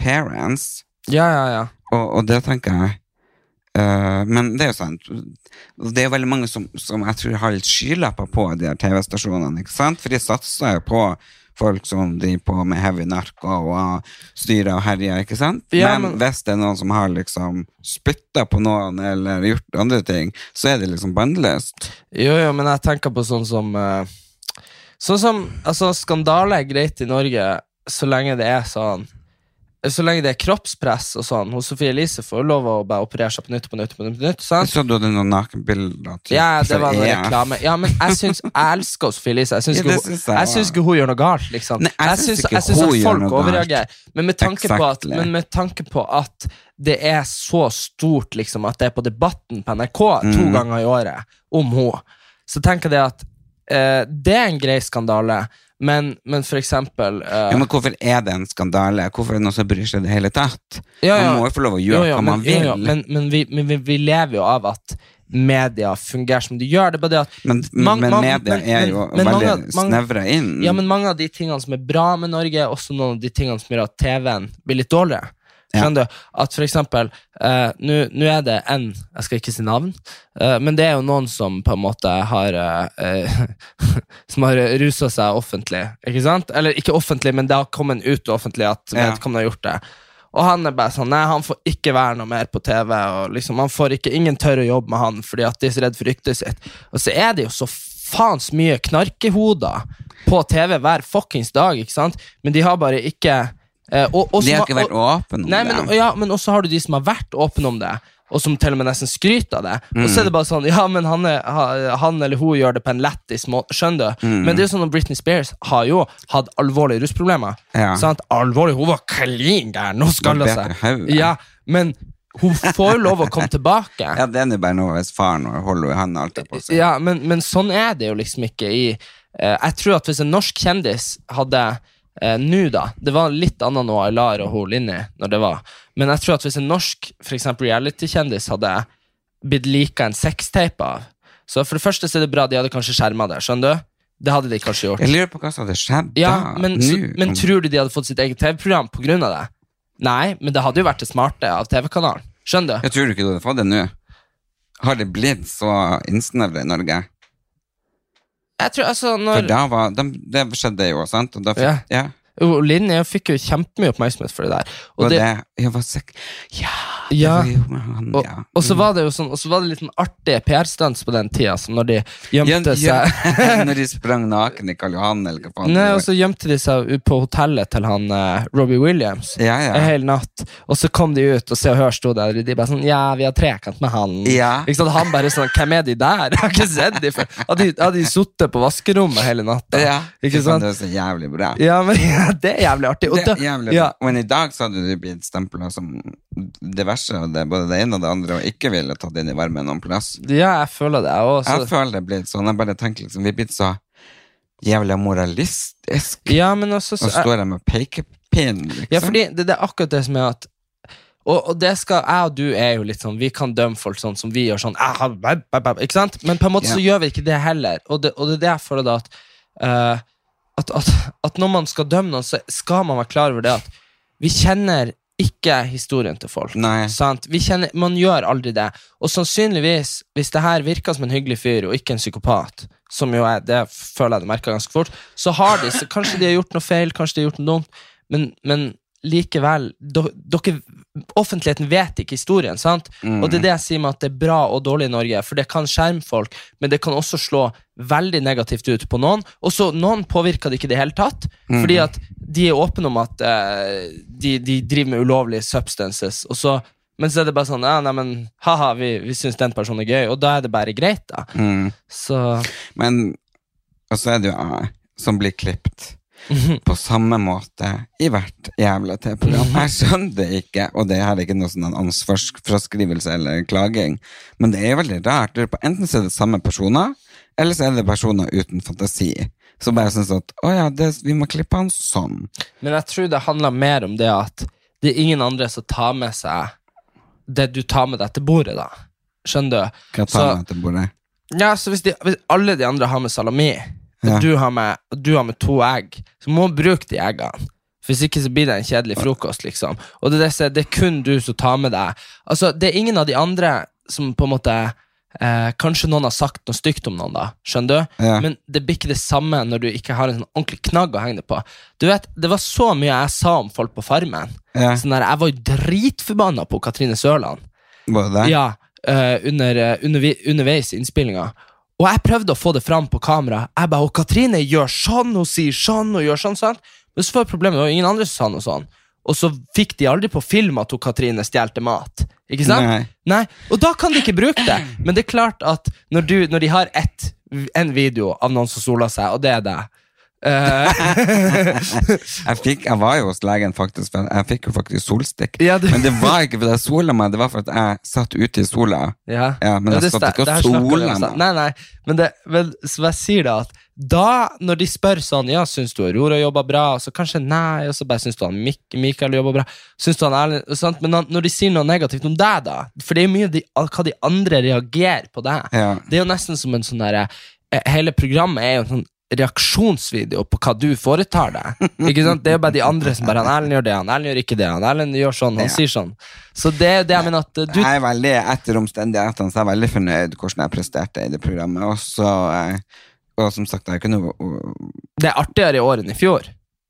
S1: appearance,
S2: Ja, ja, ja.
S1: og, og det tenker jeg eh, men det er jo sant. Det er jo veldig mange som, som jeg tror har litt skylapper på de her TV-stasjonene. ikke sant? For de satser jo på folk som driver på med heavy narko og styrer og herjer. ikke sant?
S2: Ja,
S1: men,
S2: men-
S1: hvis det er noen som har liksom spytta på noen eller gjort andre ting, så er det liksom bannlyst.
S2: Jo, jo, men jeg tenker på sånn som eh, Sånn som, altså Skandale er greit i Norge så lenge det er sånn Så lenge det er kroppspress og sånn. Hos Sofie Elise får jo lov å bare operere seg på nytt på nytt. på nytt, på nytt sant?
S1: Så du hadde noen nakenbilder? til-
S2: Ja, det var
S1: for E
S2: noe
S1: EF.
S2: reklame. Ja, men jeg syns Jeg elsker Sofie Elise. Jeg syns
S1: Ja,
S2: ikke
S1: det
S2: hun-
S1: syns jeg
S2: jeg syns
S1: også.
S2: ikke hun gjør noe galt, liksom.
S1: Nei, jeg
S2: jeg
S1: syns
S2: syns
S1: ikke
S2: jeg syns
S1: hun
S2: at
S1: gjør
S2: folk
S1: noe galt.
S2: overreagerer. Men med, tanke på at,
S1: Exactly.
S2: men med tanke på at det er så stort liksom, at det er på Debatten på NRK to
S1: Mm.
S2: ganger i året om henne, så tenker jeg det at eh, det er en grei skandale, men, men for eksempel eh,
S1: Ja, men hvorfor er det en skandale? Hvorfor er det noen som bryr seg i det hele tatt?
S2: ja, ja.
S1: Man må jo få lov å gjøre
S2: Jo, jo,
S1: hva man
S2: men- jo,
S1: vil.
S2: jo, men men, vi, men vi, vi lever jo av at media fungerer som de gjør. Det er bare det at
S1: Men,
S2: Mang-
S1: men
S2: mang-
S1: media
S2: men-
S1: er
S2: men-
S1: jo
S2: men mange-
S1: veldig
S2: mange-
S1: snevra inn.
S2: Ja, men mange av de tingene som er bra med Norge, er også noen av de tingene som gjør at TV-en blir litt dårligere. Skjønner du? At for eksempel, eh, nå nå er det en, jeg skal ikke si navn, eh, men det er jo noen som på en måte har, eh, eh, som har ruset seg offentlig, ikke sant? Eller ikke offentlig, men det har kommet ut offentlig at
S1: Ja.
S2: vedkommende har gjort det. Og han er bare sånn, nei, han får ikke være noe mer på TV, og liksom, han får ikke, ingen tør å jobbe med han, fordi at de er så redd for ryktet sitt. Og så er det jo så faens mye knarkehoder på TV hver fuckings dag, ikke sant? Men de har bare ikke... eh, og, og
S1: de
S2: som
S1: har ikke vært
S2: og-
S1: åpne om
S2: Nei, men,
S1: det.
S2: og ja, men også har du de som har vært åpne om det, og som til og med nesten skryter av det. Og
S1: Mm.
S2: så er det bare sånn Ja, men han, er, ha- han eller hun gjør det på en lættis måte. Skjønner du?
S1: Mm.
S2: Men det er jo sånn at Britney Spears har jo hatt alvorlige rusproblemer.
S1: Ja.
S2: Sant? Alvorlig, Hun var klin der! Nå skal
S1: Hun
S2: det
S1: bet i
S2: seg.
S1: hodet.
S2: Ja, men hun får jo lov å komme tilbake.
S1: Ja, det er jo bare noe hvis faren vår holder i hånda alltid på seg.
S2: Ja, men, men sånn er det jo liksom ikke i eh, Jeg tror at hvis en norsk kjendis hadde eh, Nå, da. Det var litt annet nå Aylar og hun Linni når det var. Men jeg tror at hvis en norsk for eksempel reality-kjendis hadde blitt lika en sextape av Så for det første så er det bra de hadde kanskje skjerma det. Skjønner du? Det hadde de kanskje gjort.
S1: Jeg lurer på hva som hadde skjedd
S2: Ja,
S1: da.
S2: men,
S1: nå,
S2: så,
S1: om-
S2: men tror du de hadde fått sitt eget TV-program pga. det? Nei, men det hadde jo vært det smarte av TV-kanalen. Skjønner du?
S1: Jeg tror du ikke du hadde fått det nå. Har det blitt så innsnevra i Norge?
S2: Jeg tror, altså,
S1: For
S2: når,
S1: da var, de, det skjedde jo, sant? Og da fikk,
S2: Ja.
S1: ja.
S2: Jo, Linn jeg fikk jo kjempemye oppmerksomhet for det der.
S1: Og
S2: Og det,
S1: det, jeg var sek ja,
S2: Ja.
S1: Jeg var jo med han,
S2: Og,
S1: ja. Mm.
S2: og så var det jo sånn Og så var det litt sånn artige PR-stunts på den tida, så når de gjemte
S1: Ja,
S2: seg
S1: ja. Når de sprang naken i Karl Johan, eller hva faen.
S2: Nei,
S1: det var.
S2: og så gjemte de seg ut på hotellet til han eh, Robbie Williams
S1: Ja, ja.
S2: en hel natt. Og så kom de ut, og Se og Hør sto der, og de bare sånn Ja, vi har trekant med han.
S1: Ja.
S2: Ikke sant? Han bare sånn Hvem er de der? Jeg har ikke sett de før. Hadde de- hadde de sittet på vaskerommet hele natta?
S1: ja.
S2: Ikke
S1: Fy faen,
S2: sant?
S1: Det var så jævlig bra.
S2: Ja, men ja, det er jævlig artig. Og
S1: Det
S2: da-
S1: er jævlig
S2: ja,
S1: bra. Men i dag så hadde du blitt stempla som det verste av det, både det ene og det andre, og ikke ville tatt inn i varmen noen plass.
S2: ja, jeg føler det. Og så-
S1: Jeg føler det blir sånn. Jeg bare tenker liksom, vi er blitt så jævlig moralistisk.
S2: ja, men også,
S1: Og står jeg med pekepinn, liksom.
S2: Ja, fordi det, det er akkurat det som er at og, og det skal, jeg og du er jo litt sånn Vi kan dømme folk sånn som vi gjør sånn ah, bæ, bæ, bæ, Ikke sant? Men på en måte så gjør vi ikke det heller Og det, og det er det jeg føler da at, eh, at, at At når man skal dømme noen Så skal man være klar over det at Vi kjenner ikke historien til folk
S1: Nei.
S2: sant? Vi kjenner, Man gjør aldri det Og sannsynligvis, hvis det her virker som en hyggelig fyr Og ikke en psykopat Som jo er, det føler jeg det merker ganske fort Så har de, så kanskje de har gjort noe feil Kanskje de har gjort noe dumt men, men likevel do- dere, Offentligheten vet ikke historien. sant? Og det er det jeg sier med at det er bra og dårlig i Norge. For det kan skjerme folk, men det kan også slå veldig negativt ut på noen. Og så noen påvirker det ikke i det hele tatt, fordi at de er åpne om at eh, de, de driver med ulovlige substances. og så men så er det bare sånn ja, nei, men, haha, vi, vi syns den personen er gøy, og da er det bare greit, da.
S1: Mm.
S2: Så
S1: Men Og så er det jo jeg som blir klippet på samme måte i hvert jævla TV-program. Jeg skjønner det ikke, og det her er ikke noe sånn en ansvarsfraskrivelse eller klaging, men det er veldig rart. Jeg lurer på, Enten så er det samme personer, eller så er det personer uten fantasi. Som bare syns at å ja, det, vi må klippe han sånn.
S2: Men jeg tror det handler mer om det at det er ingen andre som tar med seg det du tar med deg til bordet, da. Skjønner du?
S1: Hva tar
S2: Så-
S1: han etter bordet?
S2: Ja, så hvis, de, hvis alle de andre har med salami,
S1: Ja.
S2: og du har med, og du har med to egg, så må man bruke de eggene. Hvis ikke så blir det en kjedelig frokost, liksom. Og det, er det, som- det er kun du som tar med deg. Altså, det er ingen av de andre som på en måte eh, Kanskje noen har sagt noe stygt om noen, da. Skjønner du?
S1: Ja.
S2: Men det blir ikke det samme når du ikke har en sånn ordentlig knagg å henge det på. Du vet, Det var så mye jeg sa om folk på Farmen.
S1: Ja.
S2: Sånn der, jeg var jo dritforbanna på Katrine Sørland.
S1: Både det?
S2: Ja, eh, under, eh, undervi- underveis i innspillinga. Og jeg prøvde å få det fram på kamera. Jeg bare, og Katrine gjør sånn, hun sier sånn, og gjør sånn, sant? Men så var problemet, det var ingen andre som sa noe sånn. Og så fikk de aldri på film at hun Katrine stjelte mat. Ikke sant?
S1: Nei.
S2: Nei, Og da kan de ikke bruke det. Men det er klart at når, du, når de har ett, en video av noen som soler seg, og det er deg eh,
S1: Jeg, fikk, jeg var jo hos legen faktisk, for jeg fikk jo faktisk solstikk.
S2: Ja, du-
S1: Men det var ikke fordi jeg sola meg, det var fordi jeg satt ute i sola.
S2: Ja,
S1: Ja, men jeg
S2: det
S1: satt
S2: sta-
S1: ikke og
S2: det her snakker vi om
S1: sola
S2: i stad.
S1: meg.
S2: Nei, nei, men, det, men som jeg sier da at da, når de spør sånn, ja, syns du Aurora jobber bra, og så kanskje nei, og så bare syns du han Mik Mikael jobber bra, syns du han Erlend og sant? Men han- når de sier noe negativt om deg, da, for det er jo mye de, hva de andre reagerer på deg.
S1: Ja.
S2: Det er jo nesten som en sånn derre eh, Hele programmet er jo en sånn reaksjonsvideo på hva du foretar deg. Ikke sant? Det er jo bare de andre som bare Han Erlend gjør det, han Erlend gjør ikke det, han Erlend gjør sånn, han
S1: Ja.
S2: sier sånn. Så det er jo det jeg mener at eh, du
S1: Jeg er veldig, etter omstendighetene, så er jeg veldig fornøyd hvordan jeg presterte i det programmet. Og så, eh, og som sagt, jeg kunne
S2: Det er artigere i år enn i fjor.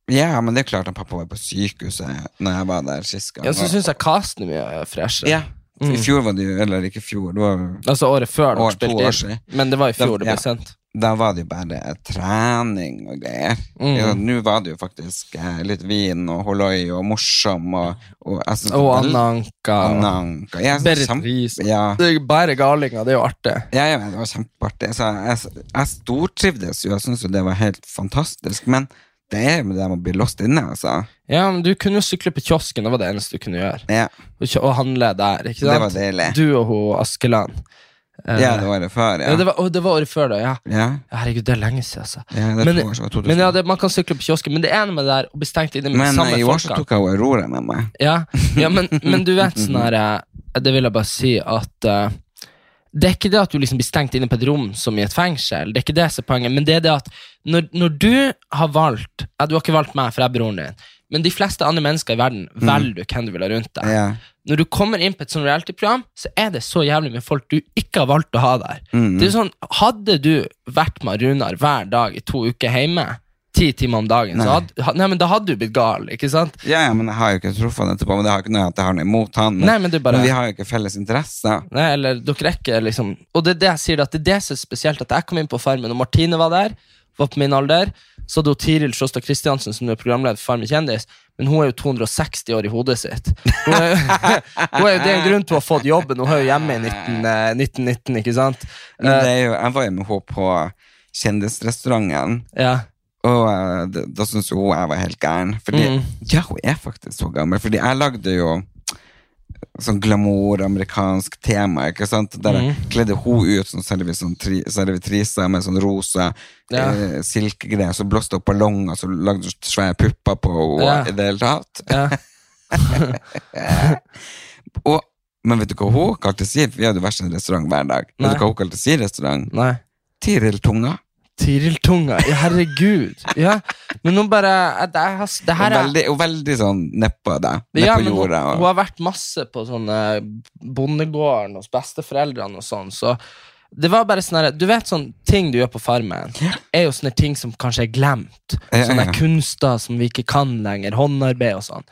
S1: Ja, men det er klart at pappa var på sykehuset når jeg var der sist gang.
S2: Ja, så Mm.
S1: og-
S2: syns jeg casten er mye freshere.
S1: ja. I fjor var det jo, eller ikke i fjor, det var
S2: Altså året før. når
S1: År-
S2: den spilte
S1: to år
S2: inn.
S1: siden.
S2: Men det var i fjor det
S1: Ja.
S2: ble sendt.
S1: da var det jo bare trening og greier.
S2: Mm.
S1: Ja, Nå var det jo faktisk eh, litt vin og holoi og morsom og, og jeg synes det
S2: Og
S1: var
S2: Anna Anka.
S1: veldig- Anna Anka. Jeg synes
S2: Berit
S1: kjempe-
S2: Riis.
S1: Ja.
S2: Det er jo bare galinger. Det er jo artig.
S1: Ja, ja, det var kjempeartig. Så jeg, jeg stortrivdes jo, jeg syns jo det var helt fantastisk. Men det er jo det med å bli låst inne, altså.
S2: Ja, men Du kunne jo sykle på kiosken. Det var det eneste du kunne gjøre.
S1: Ja,
S2: Og kjø- Og handle der. ikke
S1: Det
S2: sant?
S1: var deilig.
S2: Du og hun Askeland. Eh,
S1: ja det året før, ja.
S2: ja, det, var, å, det var året før, da. ja
S1: Ja,
S2: Herregud, det er lenge siden, altså.
S1: ja det er
S2: men,
S1: to år siden. 2000.
S2: men ja, det, Man kan sykle på kiosken, men det ene med det der å bli stengt inne med de
S1: men
S2: samme
S1: eh, i år så
S2: folkene-
S1: tok jeg jo Aurora med meg.
S2: Ja, ja men, men du vet sånn her eh, Det vil jeg bare si at eh, Det er ikke det at du liksom blir stengt inne på et rom som i et fengsel, det er ikke det som er poenget, men det er det at når, når du har valgt ja, Du har ikke valgt meg, for jeg er broren din, men de fleste andre mennesker i verden velger du hvem du vil ha rundt deg.
S1: Mm. Ja.
S2: Når du kommer inn på et sånt reality-program, så er det så jævlig mye folk du ikke har valgt
S1: Mm.
S2: å ha der. Det er jo sånn, Hadde du vært med Runar hver dag i to uker hjemme, ti timer om dagen,
S1: Nei.
S2: så hadde, ha- nei, men da hadde du blitt gal. ikke sant?
S1: Ja, ja, men jeg har jo ikke truffet han etterpå, men det har ikke noe at jeg har noe imot han. Men,
S2: Nei, men du bare-
S1: men vi har jo ikke felles interesser.
S2: Nei, eller dere er ikke liksom Og det er det jeg sier, at det er det som er spesielt, at jeg kom inn på Farmen, og Martine var der, var på min alder. Så hadde hun Tiril Sjåstad Kristiansen, som nå er programleder for Farmen kjendis, men hun er jo 260 år i hodet sitt. Hun er, hun er jo, det er en grunn til å ha fått jobben, hun er jo hjemme i 19, eh, 1919, ikke sant?
S1: Men
S2: Eh,
S1: det er jo, jeg var jo med henne på kjendisrestauranten,
S2: Ja.
S1: og eh, det, da syntes jo hun jeg var helt gæren. Fordi,
S2: Mm.
S1: Ja, hun er faktisk så gammel, fordi jeg lagde jo sånn glamour, amerikansk tema, ikke sant? Der jeg
S2: Mm.
S1: kledde hun ut som servi- sånn tri- servitrise med sånn rosa
S2: Ja.
S1: eh, silkegreier, så blåste opp ballonger, så lagde hun svære pupper på henne
S2: Ja.
S1: i det hele tatt.
S2: ja.
S1: Og, men vet du hva hun kalte sin? Vi hadde jo hver sin restaurant hver dag.
S2: Nei.
S1: Vet du hva hun kalte sin restaurant?
S2: Nei.
S1: Tiril Tunga.
S2: Tiriltunga. Ja, herregud. Ja. Men nå bare jeg- Det, her- det her
S1: Og
S2: er
S1: veldig, og veldig sånn nedpå deg. Ned
S2: Ja,
S1: på
S2: men hun,
S1: jorda.
S2: hun
S1: Og,
S2: har vært masse på sånne bondegården hos besteforeldrene og sånn, så det var bare sånne, her- Du vet sånne ting du gjør på farmen, er jo sånne ting som kanskje er glemt.
S1: Ja, ja,
S2: Sånne
S1: ja.
S2: kunster som vi ikke kan lenger. Håndarbeid og sånn.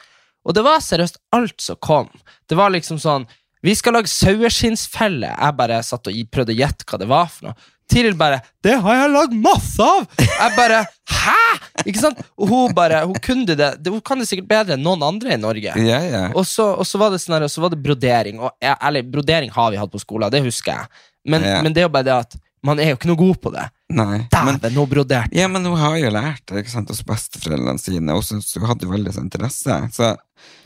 S2: Og det var seriøst alt som kom. Det var liksom sånn Vi skal lage saueskinnsfelle. Jeg bare satt og gi- prøvde å gjette hva det var for noe. Tiril bare 'Det har jeg lagd masse av!' Jeg bare 'Hæ?!' Ikke sant? Og hun bare Hun kunne det Hun kan det sikkert bedre enn noen andre i Norge.
S1: ja, ja.
S2: Og så, og så var det sånn her, og så var det brodering. Og jeg- ærlig, brodering har vi hatt på skolen, det husker jeg. Men,
S1: Ja.
S2: men det er jo bare det at man er jo ikke noe god på det.
S1: Nei. Men,
S2: Dæven, nå broderte
S1: ja, men hun har jo lært det ikke sant, hos besteforeldrene sine, og synes hun hadde jo veldig sånn interesse. Så,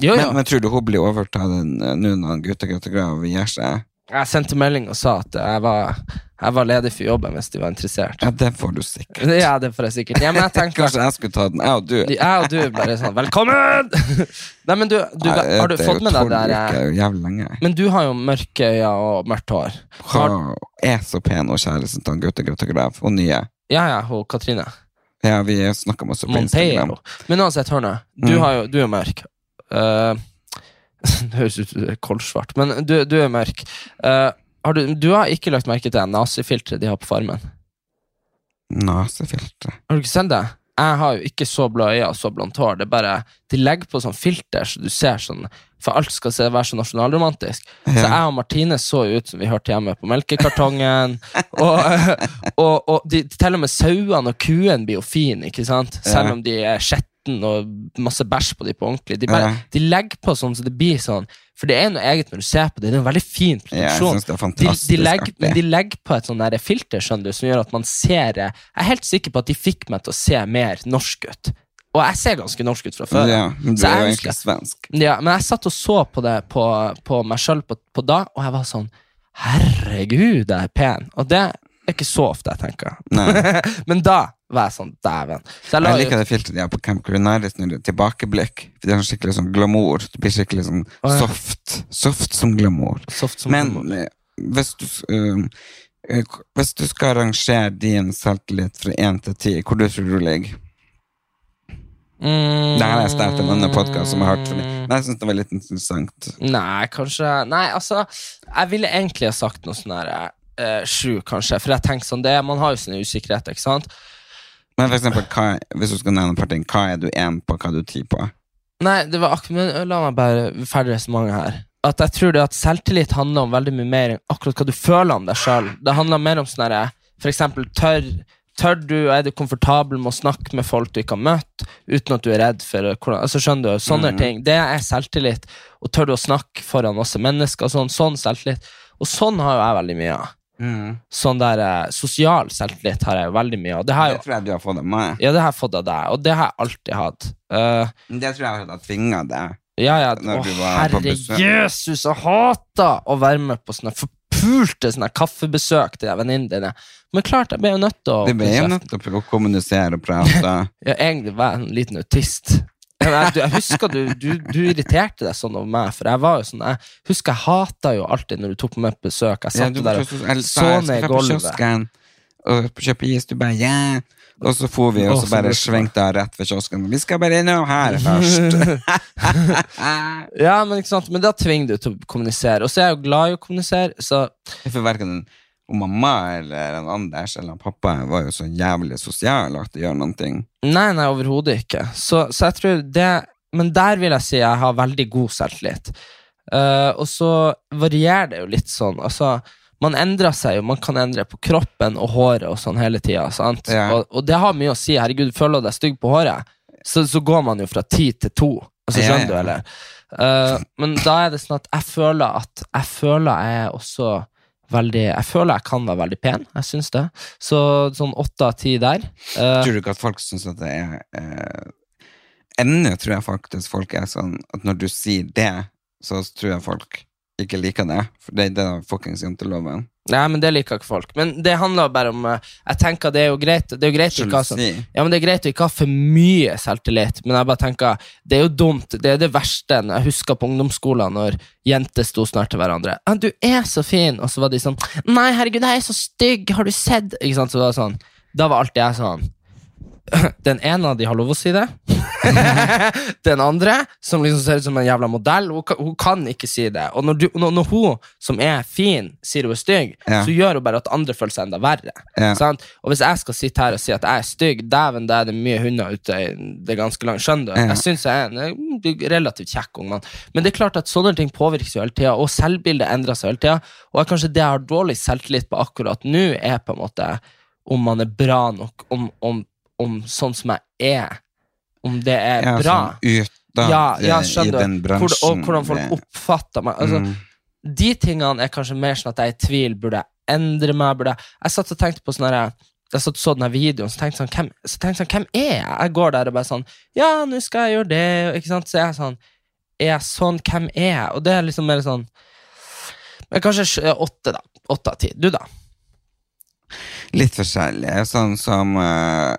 S2: Jo, jo.
S1: men, men tror du hun blir overtatt av den, eh, nå når gutta gutta grav gir seg?
S2: Jeg sendte melding og sa at jeg var, jeg var ledig for jobben hvis de var interessert.
S1: Ja, det får du sikkert.
S2: Ja, det får jeg sikkert. Ja, men jeg tenker
S1: Kanskje jeg skulle ta den, jeg og du.
S2: Jeg og du bare sånn Velkommen! Nei, men du, du
S1: Nei,
S2: har du
S1: det er jo
S2: fått med deg
S1: tolv
S2: det der
S1: uker,
S2: eh,
S1: jo jævlig lenge.
S2: Men du har jo mørke øyne og mørkt hår. Har,
S1: Hun er så pen, og kjæresten til han gutta gutta grav, og nye.
S2: ja, ja, hun Katrine.
S1: Ja, vi snakka masse på Instagram.
S2: Monteiro. Men uansett, hør nå. Du,
S1: Mm.
S2: har jo, du er mørk. Eh, det høres ut som du er kolsvart, men du, du er mørk. Eh, har du, du har ikke lagt merke til nazifilteret de har på Farmen?
S1: Nasefiltre.
S2: Har du ikke sett det? Jeg har jo ikke så blå øyne og så blondt hår. Det er bare, De legger på sånn filter, så du ser sånn For alt skal se, være så nasjonalromantisk. Så jeg
S1: Ja.
S2: og Martine så jo ut som vi hørte hjemme på melkekartongen. og, og, og de, til og med sauene og kuen blir jo fine, ikke sant?
S1: Ja.
S2: Selv om de er skjetne og masse bæsj på dem på ordentlig. De, bare,
S1: Ja.
S2: de legger på sånn så det blir sånn. For det er noe eget når du ser på det. Det er en veldig fin
S1: Ja, jeg
S2: produksjon.
S1: synes det er
S2: De,
S1: fantastisk
S2: de, legger, men
S1: artig.
S2: de legger på et sånn der filter skjønner du, som gjør at man ser eh, Jeg er helt sikker på at de fikk meg til å se mer norsk ut. Og jeg ser ganske norsk ut fra før.
S1: Ja, men du
S2: Så
S1: er
S2: jeg
S1: jo
S2: husker-
S1: egentlig svensk.
S2: ja, men jeg satt og så på det på, på meg sjøl på, på da, og jeg var sånn Herregud, jeg er pen. Og det er ikke så ofte jeg tenker.
S1: Nei.
S2: men da var jeg sånn Dæven. Så jeg la
S1: Jeg
S2: jo
S1: liker det filteret de har på Camp Culinaris når det er tilbakeblikk. For det er sånn skikkelig sånn glamour. Det blir skikkelig sånn
S2: ja.
S1: soft. Soft som glamour.
S2: soft som
S1: Men
S2: humor.
S1: eh, hvis du, s- um, eh, k- hvis du skal rangere din selvtillit fra 1 til 10, hvor du tror du ligger?
S2: mm,
S1: Det her har jeg stjålet en annen podkast som jeg har hørt. Fordi, men jeg syns det var litt interessant.
S2: Nei, kanskje Nei, altså, jeg ville egentlig ha sagt noe sånn her eh, sju, kanskje. For jeg tenker sånn, det man har jo sine usikkerheter, ikke sant?
S1: Men for eksempel, hva, hvis du skal nevne partien, hva er du 1 på, hva er du 10 på?
S2: Nei, det var akkurat, men la meg bare ferdig resonnementet her. At jeg tror det at selvtillit handler om veldig mye mer enn akkurat hva du føler om deg sjøl. Det handler mer om sånn herre For eksempel, tør, tør du, og er du komfortabel med å snakke med folk du ikke har møtt, uten at du er redd for hvordan Altså, skjønner du? Sånne ting. Det er selvtillit. Og tør du å snakke foran masse mennesker og sånn. Sånn selvtillit. Og sånn har jo jeg veldig mye av. Sånn der eh, sosial selvtillit har jeg jo veldig mye av. Det har
S1: Det
S2: jeg jo
S1: tror jeg du har fått av meg.
S2: ja, det har jeg fått av deg, og det har jeg alltid hatt. Eh,
S1: Det tror jeg at jeg tvinga deg.
S2: ja, ja.
S1: Når
S2: Å,
S1: du var på
S2: herre
S1: besøk.
S2: Jesus, jeg hater å være med på sånne forpulte sånne kaffebesøk til de venninnene dine. Men klart, jeg ble jo nødt til å
S1: Vi ble jo
S2: åpne kjeften.
S1: nødt til å kommunisere og prate.
S2: Ja, egentlig var jeg en liten autist. Men Jeg, du- jeg husker du, du, du irriterte deg sånn over meg, for jeg var jo sånn Jeg husker jeg hata jo alltid når du tok meg med på besøk. Jeg
S1: Ja,
S2: satt
S1: du
S2: der
S1: plutselig- jeg
S2: og
S1: sa,
S2: så
S1: jeg skal
S2: ned i
S1: dra på
S2: gulvet.
S1: kiosken Og kjøpe is, du bare yeah. Og så for vi, og
S2: Å,
S1: så
S2: så
S1: bare
S2: lurt.
S1: svingte jeg rett ved kiosken. Vi skal bare innom her først.
S2: Ja, men ikke sant, men da tvinger du til å kommunisere. Og så er jeg jo glad i å kommunisere, så
S1: For verken Og mamma eller en Anders eller en pappa var jo så jævlig sosial at det gjør noen ting.
S2: Nei, nei, overhodet ikke. Så, så jeg tror det Men der vil jeg si jeg har veldig god selvtillit. Eh, og så varierer det jo litt sånn. Altså, man endrer seg jo. Man kan endre på kroppen og håret og sånn hele tida. sant?
S1: Ja.
S2: Og, og det har mye å si. Herregud, føler du deg stygg på håret, så, så går man jo fra ti til to. Altså,
S1: Ja,
S2: skjønner
S1: ja.
S2: du, eller? Eh, men da er det sånn at jeg føler at jeg føler jeg er også veldig Jeg føler jeg kan være veldig pen. Jeg syns det. Så sånn åtte av ti der. Eh,
S1: Tror du ikke at folk syns at det er eh, Ennå tror jeg faktisk folk er sånn at når du sier det, så tror jeg folk ikke liker det. For det, det er fuckings janteloven.
S2: Nei, men det liker ikke folk. Men det handler bare om eh, Jeg tenker det er jo greit Det er jo greit å ikke ha sånn
S1: Sjalusi.
S2: ja, men det er greit å ikke ha for mye selvtillit, men jeg bare tenker det er jo dumt. Det er det verste enn jeg husker på ungdomsskolen når jenter sto snart til hverandre. Ja, 'Du er så fin', og så var de sånn 'Nei, herregud, jeg er så stygg, har du sett?' Ikke sant, så var det sånn Da var alltid jeg sånn den ene av de har lov å si det. den andre, som liksom ser ut som en jævla modell, hun kan, hun kan ikke si det. Og når, du, når, når hun, som er fin, sier hun er stygg,
S1: Ja.
S2: så gjør hun bare at andre føler seg enda verre.
S1: Ja.
S2: Sant? Og hvis jeg skal sitte her og si at jeg er stygg, dæven, da er det mye hunder ute i det ganske langt. Skjønner du?
S1: Ja.
S2: Jeg syns jeg er en mm, relativt kjekk ung mann. Men det er klart at sånne ting påvirkes jo hele tida, og selvbildet endrer seg hele tida. Og kanskje det jeg har dårlig selvtillit på akkurat nå, er på en måte om man er bra nok, om, om, om sånn som jeg er, om det er
S1: Ja,
S2: bra.
S1: sånn utad
S2: ja, ja,
S1: eh, i
S2: skjønner du.
S1: den
S2: Hvor,
S1: bransjen.
S2: og hvordan
S1: det-
S2: folk oppfatter meg. Altså,
S1: Mm.
S2: De tingene er kanskje mer sånn at jeg er i tvil. Burde jeg endre meg? Burde jeg Jeg satt og tenkte på sånn her jeg satt og så den her videoen, så tenkte jeg sånn, hvem, så tenkte jeg sånn, hvem er jeg? Jeg går der og bare sånn Ja, nå skal jeg gjøre det. og Ikke sant? Så er jeg sånn Er jeg sånn? Hvem er jeg? Og det er liksom mer sånn men Kanskje sj- eh, åtte, da. Åtte av ti. Du, da?
S1: Litt forskjellig. Sånn som eh,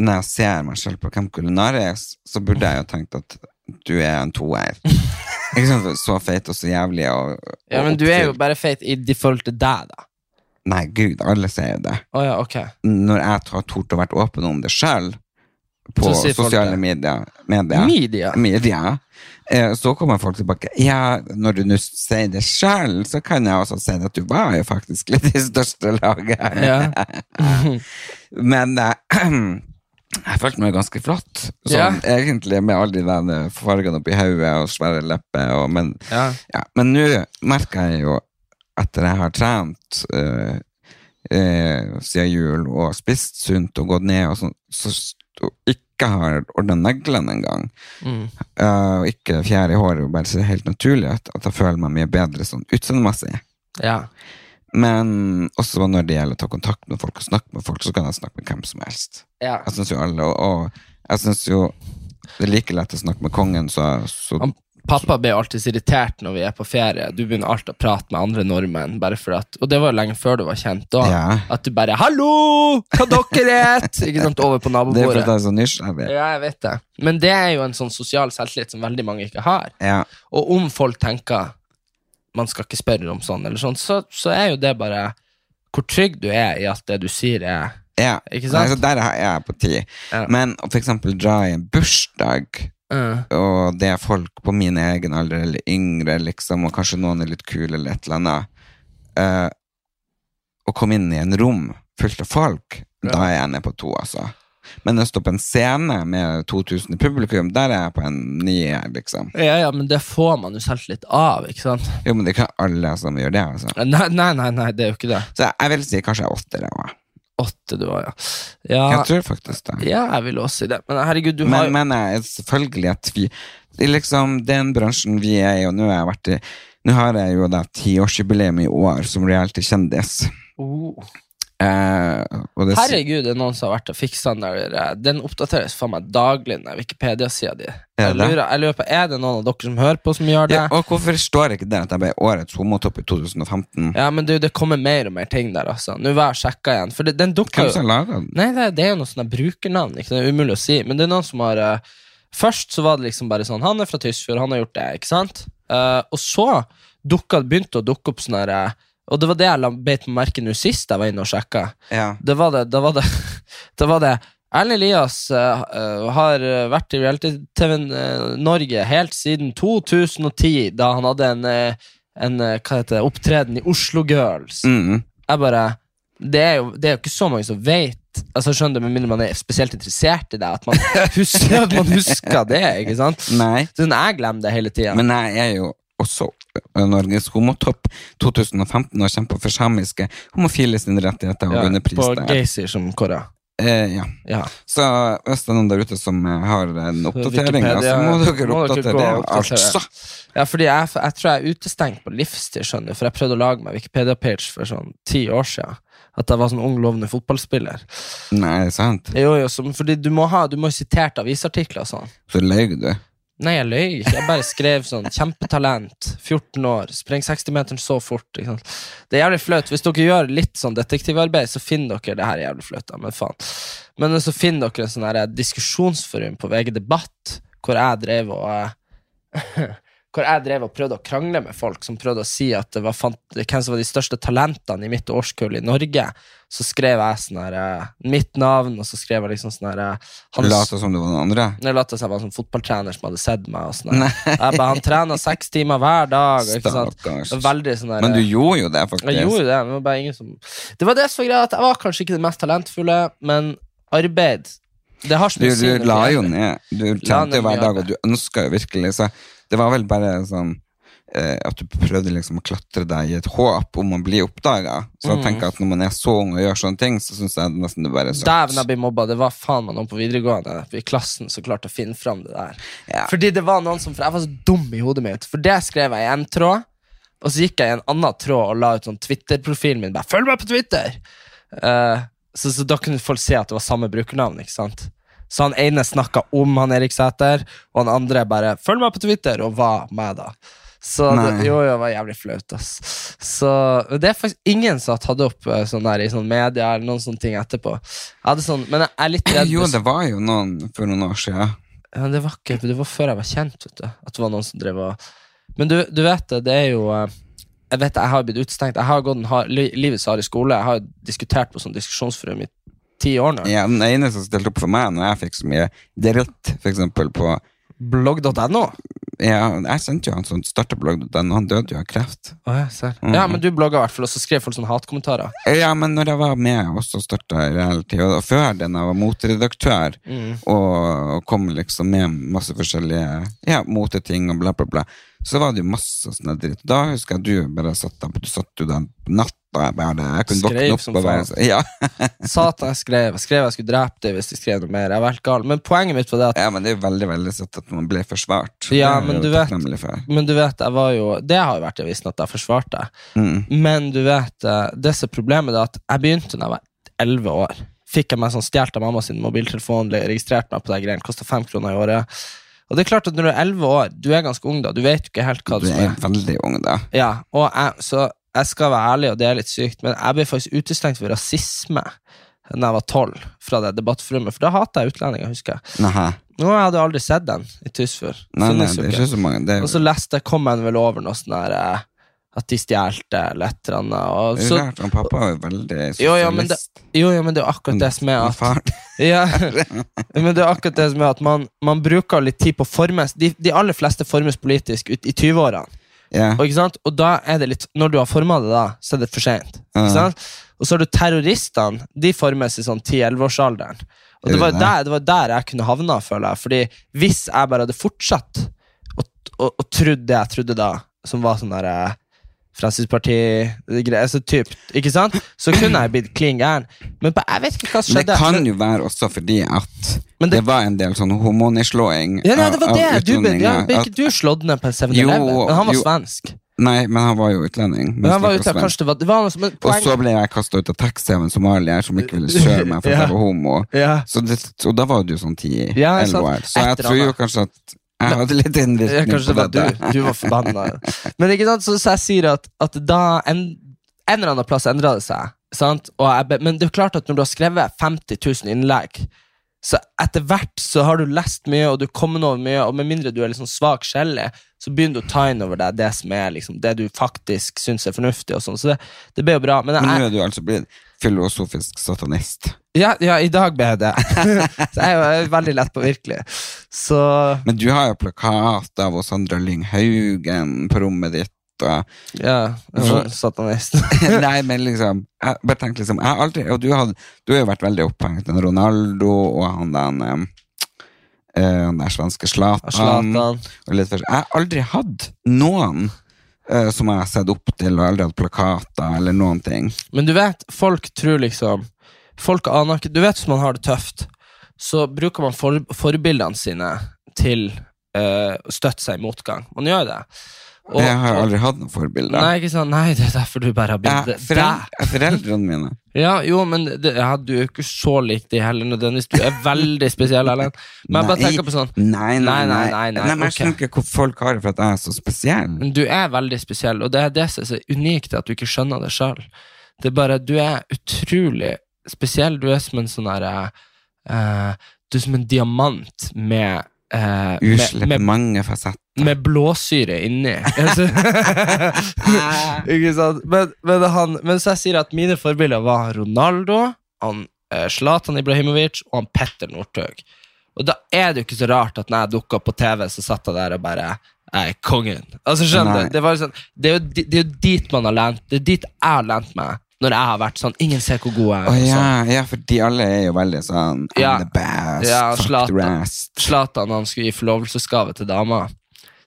S1: når jeg ser meg selv på Camp Culinaris, så burde jeg jo tenkt at du er en toer. Ikke sant? Så feit og så jævlig og, og
S2: Ja, men du er jo
S1: oppfylt.
S2: bare feit i de forhold til deg, da.
S1: Nei, gud, alle sier jo det.
S2: Å ja, ok.
S1: Når jeg har tort å være åpen om det sjøl på
S2: Så sier folk
S1: sosiale
S2: det.
S1: medier, medier
S2: Media.
S1: media, eh, så kommer folk tilbake Ja, når du nå sier det sjøl, så kan jeg også si at du var jo faktisk litt i største laget.
S2: Ja.
S1: Men eh, jeg følte meg ganske flott, sånn,
S2: Ja.
S1: egentlig, med alle de der eh, fargene oppi hodet og svære lepper. og- Men
S2: Ja.
S1: ja, men nå merker jeg jo, etter jeg har trent eh, eh, siden jul og spist sunt og gått ned og sånn, så s- og ikke har ordna neglene engang,
S2: Mm.
S1: eh, og ikke fjær i håret, og bare ser helt naturlig ut, at jeg føler meg mye bedre sånn utseendemessig.
S2: ja.
S1: Men også når det gjelder å ta kontakt med folk og snakke med folk, så kan jeg snakke med hvem som helst.
S2: ja.
S1: Jeg syns jo alle Og, og jeg syns jo det er like lett å snakke med kongen, så, så
S2: Han- Pappa blir alltid så irritert når vi er på ferie. Du begynner alltid å prate med andre nordmenn. Bare for at, og det var jo lenge før du var kjent da.
S1: Ja.
S2: At du bare 'Hallo! Hva dere et?' Ikke sant, over på
S1: Det er fordi
S2: nabobordet.
S1: jeg er så nysgjerrig.
S2: Ja, jeg vet det. Men det er jo en sånn sosial selvtillit som veldig mange ikke har.
S1: Ja.
S2: Og om folk tenker man skal ikke spørre om sånn eller sånn, så, så er jo det bare hvor trygg du er i at det du sier, er
S1: Ja,
S2: Ikke sant?
S1: Nei, så der er jeg på ti.
S2: Ja.
S1: Men å for eksempel dra i en bursdag,
S2: eh,
S1: og det er folk på min egen alder eller yngre, liksom, og kanskje noen er litt kule eller et eller annet, eh, å komme inn i en rom fullt av folk, da er jeg nede på to, altså. Men å stå på en scene med 2000 i publikum, der er jeg på en nier, liksom.
S2: Ja, ja, men det får man jo selvtillit av, ikke sant?
S1: Jo, men det er ikke alle som gjør det, altså.
S2: Nei, nei, nei, nei det er jo ikke det.
S1: Så jeg vil si kanskje jeg er åtter, jeg også.
S2: Åtte, du var, ja. ja.
S1: Jeg tror faktisk det.
S2: Ja, jeg vil også si det. Men herregud, du har
S1: Men,
S2: jo
S1: men jeg, er selvfølgelig at vi det er liksom, Den bransjen vi er i, og nå har jeg vært i Nå har jeg jo da tiårsjubileum i år som reality-kjendis.
S2: oh.
S1: Eh, og det,
S2: Herregud, det er noen som har vært og fiksa den der eh, Den oppdateres faen meg daglig, den der Wikipedia-sida di. Jeg
S1: det?
S2: lurer, jeg lurer på, Er det noen av dere som hører på, som gjør det?
S1: ja,
S2: Ja,
S1: og hvorfor står ikke det at jeg ble årets homotopp i 2015?
S2: men du, det kommer mer og mer ting der, altså. Nå var jeg og sjekka igjen, for det, den dukker
S1: Hvem
S2: jo
S1: som laga den?
S2: Nei, det, det er jo noe sånn der brukernavn. Ikke? Det er umulig å si. Men det er noen som har eh, Først så var det liksom bare sånn Han er fra Tysfjord, han har gjort det, ikke sant? Eh, og så dukka, begynte å dukke opp sånn her eh, Og det var det jeg la- beit meg merke nå sist jeg var inne og sjekka.
S1: Ja.
S2: Det var det, det var det, det var det. Erlend Elias eh, eh, har vært i reality-TV eh, Norge helt siden 2010, da han hadde en, eh, en eh, hva heter det, opptreden i Oslo Girls.
S1: Mm.
S2: Jeg bare det er, jo, det er jo ikke så mange som vet Altså skjønner du, Med mindre man er spesielt interessert i det, at man husker, at man husker det. ikke sant?
S1: Nei.
S2: Sånn, Jeg glemmer det hele tida.
S1: Men jeg er jo også Norges homotopp 2015 og kjemper for samiske homofile sine rettigheter og
S2: Ja,
S1: vinner pris
S2: på
S1: der.
S2: Gaysir som kåra.
S1: Eh, ja.
S2: Ja.
S1: Så hvis det er noen der ute som eh, har en oppdatering,
S2: Wikipedia-
S1: så må dere
S2: må dere
S1: oppdatere
S2: gå
S1: det.
S2: og oppdatere.
S1: Altså!
S2: Ja, fordi jeg, jeg tror jeg er utestengt på livstid, skjønner du. For jeg prøvde å lage meg Wikipedia-page for sånn ti år siden. At jeg var sånn ung, lovende fotballspiller.
S1: Nei, sant?
S2: Jo, jo, som, fordi du må ha Du må jo sitert avisartikler og sånn.
S1: Så løy du.
S2: Nei, jeg løy ikke. Jeg bare skrev sånn 'kjempetalent', 14 år, spreng 60-meteren så fort. Ikke sant? Det er jævlig flaut. Hvis dere gjør litt sånn detektivarbeid, så finner dere det her er jævlig flaut, da, men faen. Men så finner dere en sånn her diskusjonsforum på VG Debatt, hvor jeg drev og eh, Hvor jeg drev og prøvde å krangle med folk som prøvde å si at det var fant hvem som var de største talentene i mitt årskull i Norge. Så skrev jeg sånn her eh, mitt navn, og så skrev jeg liksom sånn her eh,
S1: Du
S2: Hans-
S1: later som du var noen andre.
S2: jeg lot som jeg var en sånn fotballtrener som hadde sett meg. Og sånn der. jeg bare, han trener seks timer hver dag. og Ikke sant?
S1: Stakkars.
S2: Det var Veldig sånn der,
S1: Men du gjorde jo det,
S2: Jeg
S1: faktisk.
S2: gjorde jo det, men det var bare ingen som Det var det som var greia, at jeg var kanskje ikke den mest talentfulle, men arbeid Det har så
S1: Du,
S2: mye å si. når
S1: du
S2: det
S1: la jo
S2: gjelder.
S1: ned. Du
S2: La
S1: trente
S2: ned
S1: jo hver
S2: mye
S1: dag,
S2: arbeid.
S1: og du ønska jo virkelig Så det var vel bare sånn eh, at du prøvde liksom å klatre deg i et håp om å bli oppdaga. Så
S2: Mm.
S1: jeg tenker at når man er så ung og gjør sånne ting, så syns jeg nesten det bare er
S2: Dæven, jeg
S1: søtt.
S2: ble mobba. Det var faen meg noen på videregående i klassen som klarte å finne fram det der.
S1: Ja.
S2: Fordi det var noen som For jeg var så dum i hodet mitt. For det skrev jeg i en tråd, og så gikk jeg i en annen tråd og la ut sånn Twitter-profilen min. Bare 'følg meg på Twitter'! Eh, så, så da kunne folk se at det var samme brukernavn, ikke sant? Så han ene snakka om han Erik Sæter, og han andre bare 'følg meg på Twitter', og var meg, da. Så
S1: Nei.
S2: det, jo, jo, det var jævlig flaut, ass. Så det er faktisk ingen som har tatt opp eh, sånn der i sånn media eller noen sånne ting etterpå. Jeg hadde sånn, men jeg er litt redd
S1: Jo, det var jo noen for noen år siden.
S2: ja, det var ikke Det var før jeg var kjent, vet du. At det var noen som drev og Men du, du vet det, det er jo eh, Jeg vet det, jeg har blitt utestengt. Jeg har gått en hard, li- livets harde skole. Jeg har jo diskutert på sånn diskusjonsforum i ti år nå.
S1: Ja, den ene som stilte opp for meg når jeg fikk så mye dritt, for eksempel på
S2: Blogg.no?
S1: ja, Jeg kjente jo han sånn som starta blogg, den, han døde jo av kreft.
S2: Å, ja, ser. ja, men du blogga i hvert fall, og så skrev folk sånne hatkommentarer.
S1: Ja, men når jeg var med og så starta i reality, og og før den jeg var motredaktør,
S2: Mm.
S1: og kom liksom med masse forskjellige ja, moteting og bla, bla, bla, så var det jo masse sånn dritt. Da husker jeg du bare satt der, du satt jo der på natta, jeg bare, jeg kunne
S2: Skrev
S1: våkne
S2: som
S1: opp og være
S2: faen.
S1: sånn, ja.
S2: Satan, jeg skrev. Jeg skrev jeg skulle drept deg hvis de skrev noe mer. Jeg var helt gal. Men poenget mitt var det at
S1: ja, men det er jo veldig, veldig søtt at man ble forsvart.
S2: Ja,
S1: Det er
S2: men
S1: jeg
S2: du
S1: jo
S2: vet-
S1: takknemlig for.
S2: Men du vet, jeg var jo Det har jo vært i avisen at jeg forsvarte.
S1: Mm.
S2: Men du vet, eh, det som er problemet, det er at jeg begynte da jeg var 11 år. Fikk jeg meg sånn stjålet av mamma sin mobiltelefon, le- registrerte meg på de greiene, kosta fem kroner i året. Og det er klart at når du er 11 år, du er ganske ung da, du vet jo ikke helt hva
S1: Du
S2: det
S1: er
S2: er.
S1: veldig ung da.
S2: Ja, og jeg, så jeg skal være ærlig, og det er litt sykt, men jeg ble faktisk utestengt for rasisme da jeg var 12, fra det debattforumet, for da hata jeg utlendinger, husker jeg.
S1: Nei,
S2: Nå jeg hadde jo aldri sett den i Tysfjord.
S1: nei, nei,
S2: Finnes jo
S1: det er ikke så mange. Det er
S2: og Sånn så
S1: jo
S2: leste jeg, kom jeg vel over noe sånn der eh, At de stjelte eller et eller annet. Og
S1: det er
S2: så,
S1: rart, han pappa er jo veldig sosialist.
S2: jo, ja, men det, jo, ja, men det er jo akkurat det som er
S1: Men
S2: at
S1: faren-
S2: ja, Men det er akkurat det som er at man, man bruker litt tid på å formes. De, de aller fleste formes politisk ut i 20-årene.
S1: Ja.
S2: Og, ikke sant? og da er det litt Når du har forma det, da, så er det for seint.
S1: Ja.
S2: Ikke sant? Og så har du terroristene. De formes i sånn 10-11-årsalderen. Og
S1: Er
S2: det
S1: det
S2: var,
S1: det?
S2: der, det var der jeg kunne havna, føler jeg. Fordi hvis jeg bare hadde fortsatt og, og, og trodd det jeg trodde da, som var sånn der eh, Fremskrittsparti-greier, så altså typ, ikke sant? Så kunne jeg blitt klin gæren. Men på, jeg vet ikke hva som
S1: Men
S2: skjedde.
S1: det kan jo være også fordi at
S2: Men
S1: det,
S2: det-
S1: var en del sånn hormonneslåing
S2: Ja, nei, det var
S1: av- av
S2: det. Du ble, ja,
S1: utlendinger,
S2: ble
S1: at-
S2: ikke du slått ned på en 7-Eleven?
S1: Jo,
S2: Men han var
S1: jo.
S2: svensk.
S1: Nei, men han var jo utlending.
S2: Men han var
S1: mens
S2: ute,
S1: jeg var svensk.
S2: kanskje det var, det var noe, som- men
S1: Og
S2: poenget-
S1: så ble jeg kasta ut av taxi av en somalier som ikke ville kjøre meg fordi
S2: Ja.
S1: jeg var homo.
S2: ja.
S1: Så det, og da var du sånn 10-11
S2: Ja, jeg sant.
S1: år. Så jeg
S2: Etter
S1: tror jo
S2: han,
S1: kanskje at jeg hadde litt
S2: Ja,
S1: innvirkning
S2: kanskje det
S1: på
S2: var
S1: dette.
S2: du. Du var forbanna. Men ikke sant, så, så jeg sier at, at da en, en eller annen plass endra det seg. Sant? Og jeg, be- men det er jo klart at når du har skrevet 50 000 innlegg, så etter hvert så har du lest mye, og du kommer over mye, og med mindre du er liksom svak skjellig, så begynner du å ta inn over deg det som er liksom, det du faktisk syns er fornuftig. og sånn, Så det, det ble jo bra. Men
S1: Men
S2: jeg,
S1: nå er du altså blitt filosofisk satanist.
S2: ja, ja, i dag ble jeg det. så jeg er jo veldig lett påvirkelig. Så
S1: Men du har jo plakat av oss Sandra Lyng Haugen på rommet ditt. og
S2: Ja, en sånn satanist.
S1: Nei, men liksom Jeg bare tenkte liksom jeg har aldri, Og du, hadde, du har jo vært veldig opphengt i Ronaldo og han den um, eh, Han der svenske Zlatan.
S2: Zlatan.
S1: og litt forskjell. Jeg har aldri hatt noen eh, som jeg har sett opp til, og aldri hatt plakater eller noen ting.
S2: Men du vet, folk tror liksom Folk aner ikke Du vet hvis man har det tøft, så bruker man for, forbildene sine til eh, å støtte seg i motgang. Man gjør det. Og-
S1: jeg har aldri hatt noen forbilder.
S2: Nei, ikke sant? Nei, det er derfor du bare har
S1: Jeg,
S2: bilde.
S1: forel, foreldrene mine
S2: Ja, jo, men det, ja, du er jo ikke så lik de heller nødvendigvis. Du er veldig spesiell, Erlend. Men jeg bare
S1: Nei.
S2: tenker på sånn
S1: Nei, nei,
S2: Nei,
S1: nei.
S2: nei, nei, nei,
S1: men jeg
S2: ok.
S1: skjønner ikke hvor folk har det for at jeg er så spesiell.
S2: Men du er veldig spesiell, og det er det som er så unikt, at du ikke skjønner det sjøl. Det er bare Du er utrolig spesiell. Du er som en sånn herre eh, Du er som en diamant med eh, med,
S1: Uslett
S2: med,
S1: mange fasetter.
S2: med blåsyre inni. Altså, Eh, ikke sant? Men, men, han, men så jeg sier at mine forbilder var Ronaldo, han eh, Zlatan Ibrahimovic og han Petter Northug. Og da er det jo ikke så rart at når jeg dukka opp på TV, så satt jeg der og bare Jeg er kongen. Altså skjønner
S1: Nei.
S2: du? Det, var jo sånn, det, er jo, di- det er jo dit man har lent. Det er dit jeg har lent meg. Når jeg har vært sånn Ingen ser hvor god jeg er.
S1: Å
S2: og
S1: ja,
S2: sånn.
S1: ja, for de alle er jo veldig sånn I'm
S2: Ja.
S1: the best,
S2: Ja,
S1: fuck
S2: Zlatan.
S1: the rest.
S2: Zlatan han skulle gi forlovelsesgave til dama,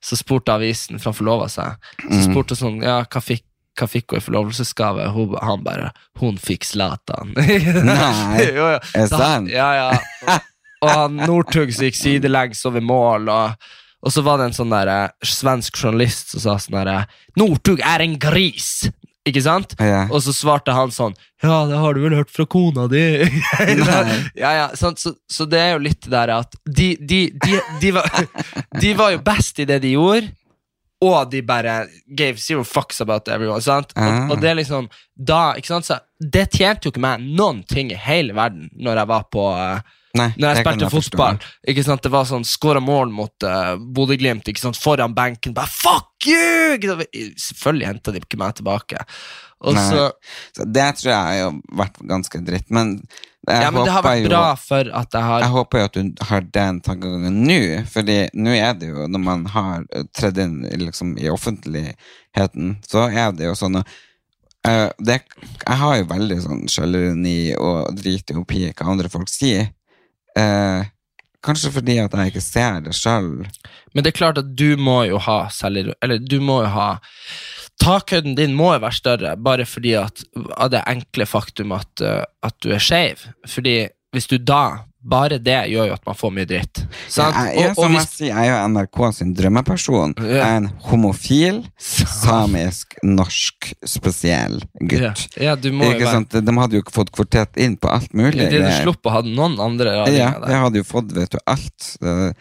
S2: så spurte avisen, for han forlova seg, så
S1: Mm.
S2: spurte hun sånn, ja, hva fikk hva fikk hun i forlovelsesgave? Hun, han bare 'Hun fikk Zlatan'.
S1: Nei,
S2: jo, ja.
S1: er det
S2: Så han-
S1: sant?
S2: Ja, ja. Og han Northug som gikk sidelengs over mål, og, og så var det en sånn der, eh, svensk journalist som sa sånn derre 'Northug er en gris'! Ikke sant?
S1: Ja.
S2: Og så svarte han sånn Ja, det har du vel hørt fra kona di? ja, ja, sant? Så, så det er jo litt det der at de, de, de, de, var, de var jo best i det de gjorde, og de bare gave zero fucks about everyone. Sant?
S1: Ah.
S2: Og, og det er liksom da, ikke sant? Så det tjente jo ikke meg noen ting i hele verden når jeg var på eh,
S1: Nei,
S2: når
S1: det
S2: jeg
S1: kan
S2: spilte
S1: forstå.
S2: fotball, ikke sant, det var sånn skåra mål mot uh, Bodø-Glimt ikke sant, foran benken. Bare 'fuck you!' Ikke sant? Selvfølgelig henta de ikke meg tilbake. Og
S1: Nei.
S2: så,
S1: Så det tror jeg har jo vært ganske dritt, men jeg
S2: ja, men det har
S1: håper
S2: vært
S1: jo-
S2: bra for at jeg har
S1: Jeg håper jo at du har den tankegangen nå, fordi nå er det jo, når man har eh, tredd inn i liksom, i offentligheten, så er det jo sånn eh, det, Jeg har jo veldig sånn selvironi og driter jo i hva andre folk sier. Eh, kanskje fordi at jeg ikke ser det sjøl.
S2: Men det er klart at du må jo ha selger, Eller du må jo ha Takhøyden din må jo være større, bare fordi at av det enkle faktum at, eh, at du er skeiv. Fordi hvis du da Bare det gjør jo at man får mye dritt. Sant?
S1: Jeg, jeg,
S2: og, og
S1: som jeg
S2: hvis,
S1: sier, jeg er jo NRK sin drømmeperson.
S2: Ja.
S1: Jeg er en homofil, samisk, norsk, spesiell
S2: ja,
S1: gutt.
S2: ja, du må jo
S1: Ikke
S2: være
S1: sant? De hadde jo ikke fått kvartett inn på alt mulig.
S2: De hadde
S1: greier.
S2: sluppet å ha noen andre
S1: ja,
S2: radinger
S1: jeg
S2: der.
S1: hadde jo fått vet du, alt. Eh,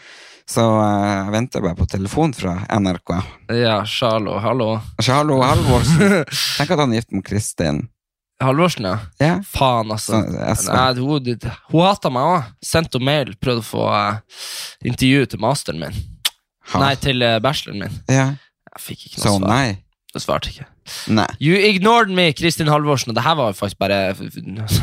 S1: Så eh, jeg venter bare på telefon fra NRK.
S2: Ja, Charlo, hallo.
S1: Altså, hallo, Halvorsen. Tenk at han er gift med Kristin.
S2: Halvorsen, ja.
S1: Ja.
S2: Faen, altså.
S1: Så, jeg så-
S2: Nei, hun, det- hun hater meg òg. Sendte hun mail, prøvde å få eh, intervju til masteren min.
S1: Ha.
S2: Nei, til eh, bacheloren min.
S1: Ja.
S2: Jeg fikk ikke
S1: Så
S2: noe svar.
S1: nei.
S2: Hun svarte ikke.
S1: Nei.
S2: You ignored me, Kristin Halvorsen. Og det her var jo faktisk bare f- f-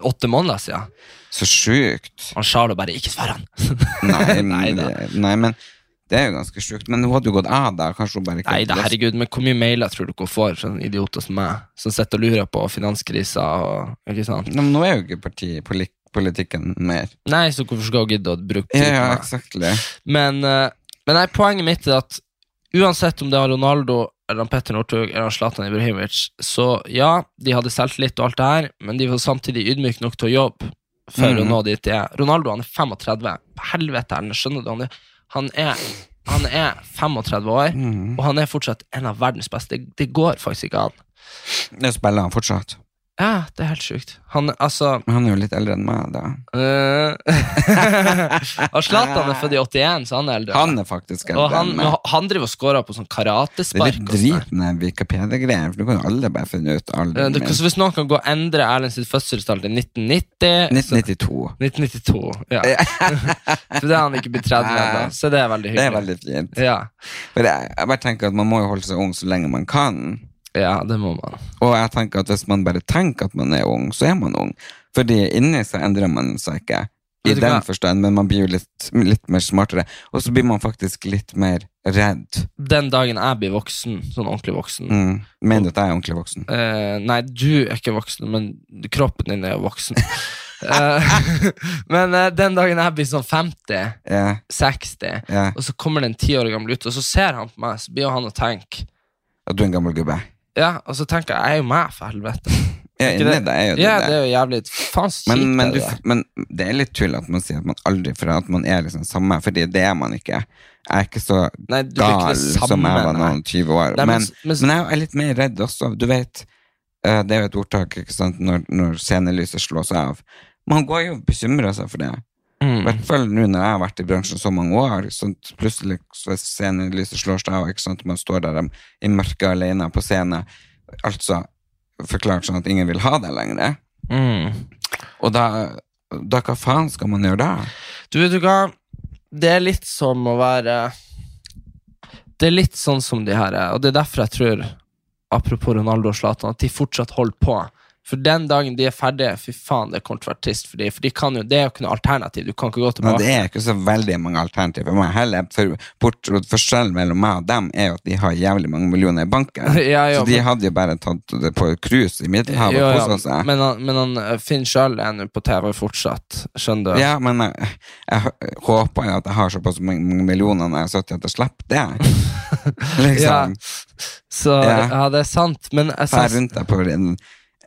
S2: åtte måneder siden.
S1: Så sjukt.
S2: Og Charlo bare 'ikke svar han'.
S1: Nei, men-
S2: Nei da.
S1: nei, men det er jo ganske sjukt. Men hun hadde jo gått av da. Kanskje hun bare ikke
S2: Nei da,
S1: hadde lyst.
S2: herregud, men hvor mye mailer tror du ikke hun får fra sånne idioter som meg, som sitter og lurer på finanskrisa og ikke sant?
S1: Nei, men Nå er jo ikke partipolitikken mer.
S2: Nei, så hvorfor skal hun gidde å bruke tid
S1: Ja,
S2: på
S1: ja,
S2: meg?
S1: exactly.
S2: Men, eh, men nei, poenget mitt er at uansett om det var Ronaldo eller han Petter Northug eller han Zlatan Ibrahimovic, så ja, de hadde selvtillit og alt det her, men de var samtidig ydmyke nok til å jobbe for å
S1: Mhm.
S2: nå dit de er. Ronaldo han er 35. Helvete, Erlend, skjønner du? Han er, han er, han er 35 år,
S1: Mm.
S2: og han er fortsatt en av verdens beste. Det, det går faktisk ikke an.
S1: Det spiller han fortsatt.
S2: Ja, det er helt sjukt. Han, altså
S1: Men han er jo litt eldre enn meg, da.
S2: øh, Og Zlatan er født i 81, så han er eldre.
S1: Han er faktisk eldre
S2: Og han,
S1: enn meg.
S2: han driver og scorer på sånn
S1: Det er
S2: karatespark.
S1: litt
S2: og sånn der.
S1: drit med Wikipedia-greier, for du kan jo alle bare finne ut
S2: Eh,
S1: alderen
S2: det-
S1: min.
S2: Så hvis noen kan gå og endre Erlend sitt fødselstall til 1990 så-
S1: 1992.
S2: 1992, ja. For det har han ikke blitt 30 ennå, så det er veldig hyggelig.
S1: Det er veldig fint.
S2: Ja,
S1: For jeg, jeg bare tenker at Man må jo holde seg ung så lenge man kan.
S2: ja, det må man.
S1: Og jeg tenker at hvis man bare tenker at man er ung, så er man ung. Fordi inni seg endrer man seg ikke. I
S2: Vet du
S1: den
S2: hva?
S1: forstand, men man blir jo litt, litt mer smartere. Og så blir man faktisk litt mer redd.
S2: Den dagen jeg blir voksen, sånn ordentlig voksen
S1: Mm. Mener du at jeg er ordentlig voksen?
S2: Eh, nei, du er ikke voksen, men kroppen din er jo voksen. Eh, men eh, den dagen jeg blir sånn 50,
S1: Ja,
S2: 60,
S1: ja.
S2: og så kommer det en ti år gammel ut, og så ser han på meg, så blir jo han og tenker
S1: At du er en gammel gubbe.
S2: Ja, og så tenker jeg, jeg er jo meg, for helvete.
S1: Ja,
S2: Ikke
S1: inni
S2: det?
S1: deg er jo det.
S2: Ja,
S1: det.
S2: det er jo jævlig faen kjipt. altså.
S1: men, men,
S2: er
S1: du,
S2: det.
S1: men det er litt tull at man sier at man aldri For at man er liksom samme, fordi det er man ikke. Jeg er ikke så
S2: Nei, du blir ikke
S1: gal
S2: det samme,
S1: som jeg var
S2: nei.
S1: noen 20 år.
S2: Nei, men-
S1: men,
S2: men-
S1: men, jeg er litt mer redd også. Du vet, eh, det er jo et ordtak ikke sant? Når, når scenelyset slås av. Man går jo og bekymrer seg for det. I
S2: Mm.
S1: hvert fall nå når jeg har vært i bransjen så mange år. Sant? Plutselig så scenelyset slår seg av, ikke sant? man står der um, i mørket alene på scenen. Altså forklart sånn at ingen vil ha deg lenger.
S2: Mm.
S1: Og da, da hva faen skal man gjøre da?
S2: Du vet du hva, det er litt som å være Det er litt sånn som de her er, og det er derfor jeg tror, apropos Ronaldo og Zlatan, at de fortsatt holder på. For den dagen de er ferdige, fy faen, det kommer til å være trist for de, For de kan jo, det er jo ikke noe alternativ. Du kan ikke gå
S1: Men
S2: tilbake.
S1: det er ikke så veldig mange alternativer for meg heller. For bort, forskjellen mellom meg og dem er jo at de har jævlig mange millioner i banken.
S2: Ja, ja,
S1: så de
S2: men-
S1: hadde jo bare tatt det på cruise i Middelhavet
S2: Jo,
S1: og
S2: ja,
S1: kosa seg.
S2: Men han, men han eh, Finn sjøl er nå på TV fortsatt, skjønner du?
S1: Ja, men jeg, jeg hø- håper jo at jeg har såpass mange millioner når jeg er 70 at jeg slipper det.
S2: Ja.
S1: Liksom.
S2: Så ja.
S1: Ja.
S2: det er sant, men jeg
S1: Fær
S2: synes-
S1: rundt deg på en, eh,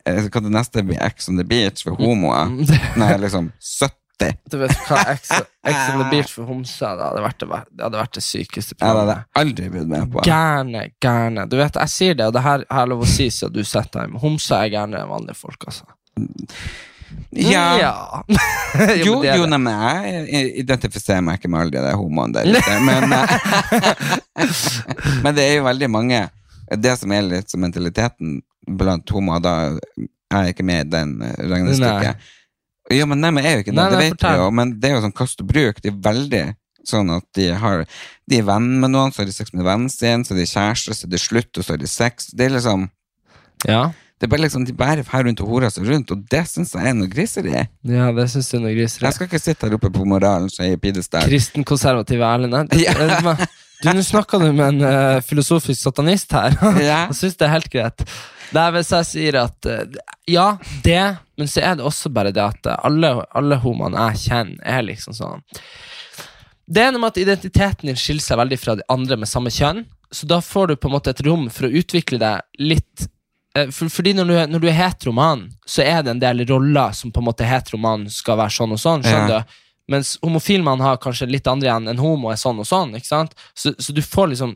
S1: Hva det neste blir? Ex on the beach for homoer? Nei, liksom 70.
S2: Du vet hva, Ex Ex on the beach for homser, det hadde vært det, ver- det, hadde vært det sykeste
S1: Ja, det hadde
S2: programmet.
S1: jeg aldri blitt med på.
S2: Gærne, gærne. Du vet, jeg sier det, og det her har jeg lov å si siden du sitter her, men homser er gærnere enn vanlige folk, altså.
S1: Ja. Jo,
S2: men det er
S1: jo,
S2: det.
S1: nei, men jeg identifiserer meg ikke med alle de der homoene der ute. Men, eh, men det er jo veldig mange Det som er litt som mentaliteten blant homoer, da er jeg ikke med i den eh, regnestykket. Jo, men nei, men jeg er jo ikke det.
S2: Nei,
S1: det
S2: nei,
S1: vet vi
S2: fortell.
S1: jo. Men det er jo sånn kast og bruk. De er veldig sånn at de har De er venn med noen, så har de sex med vennen sin, så er de kjærester, så er de slutt, og så har de sex. Det er liksom
S2: Ja,
S1: det er bare liksom, De bærer her rundt og horer seg rundt, og det syns jeg er noe griseri.
S2: ja det syns du er noe griseri.
S1: Jeg skal ikke sitte her oppe på moralen som er i pidestall.
S2: Kristenkonservative Erlend her. Du,
S1: Ja.
S2: eh, men- du, Nå snakka du med en eh, filosofisk satanist her.
S1: Ja.
S2: Jeg syns det er helt greit. Nei, hvis jeg sier at eh, Ja, det, men så er det også bare det at eh, alle, alle homoene jeg kjenner, er liksom sånn Det er noe med at identiteten din skiller seg veldig fra de andre med samme kjønn, så da får du på en måte et rom for å utvikle deg litt Eh, for, fordi når du, er- når du er heteroman, så er det en del roller som på en måte heteroman skal være sånn og sånn. skjønner
S1: Ja.
S2: du? Mens homofilmann har kanskje litt andre igjen enn homo er sånn og sånn. ikke sant? Så, så du får liksom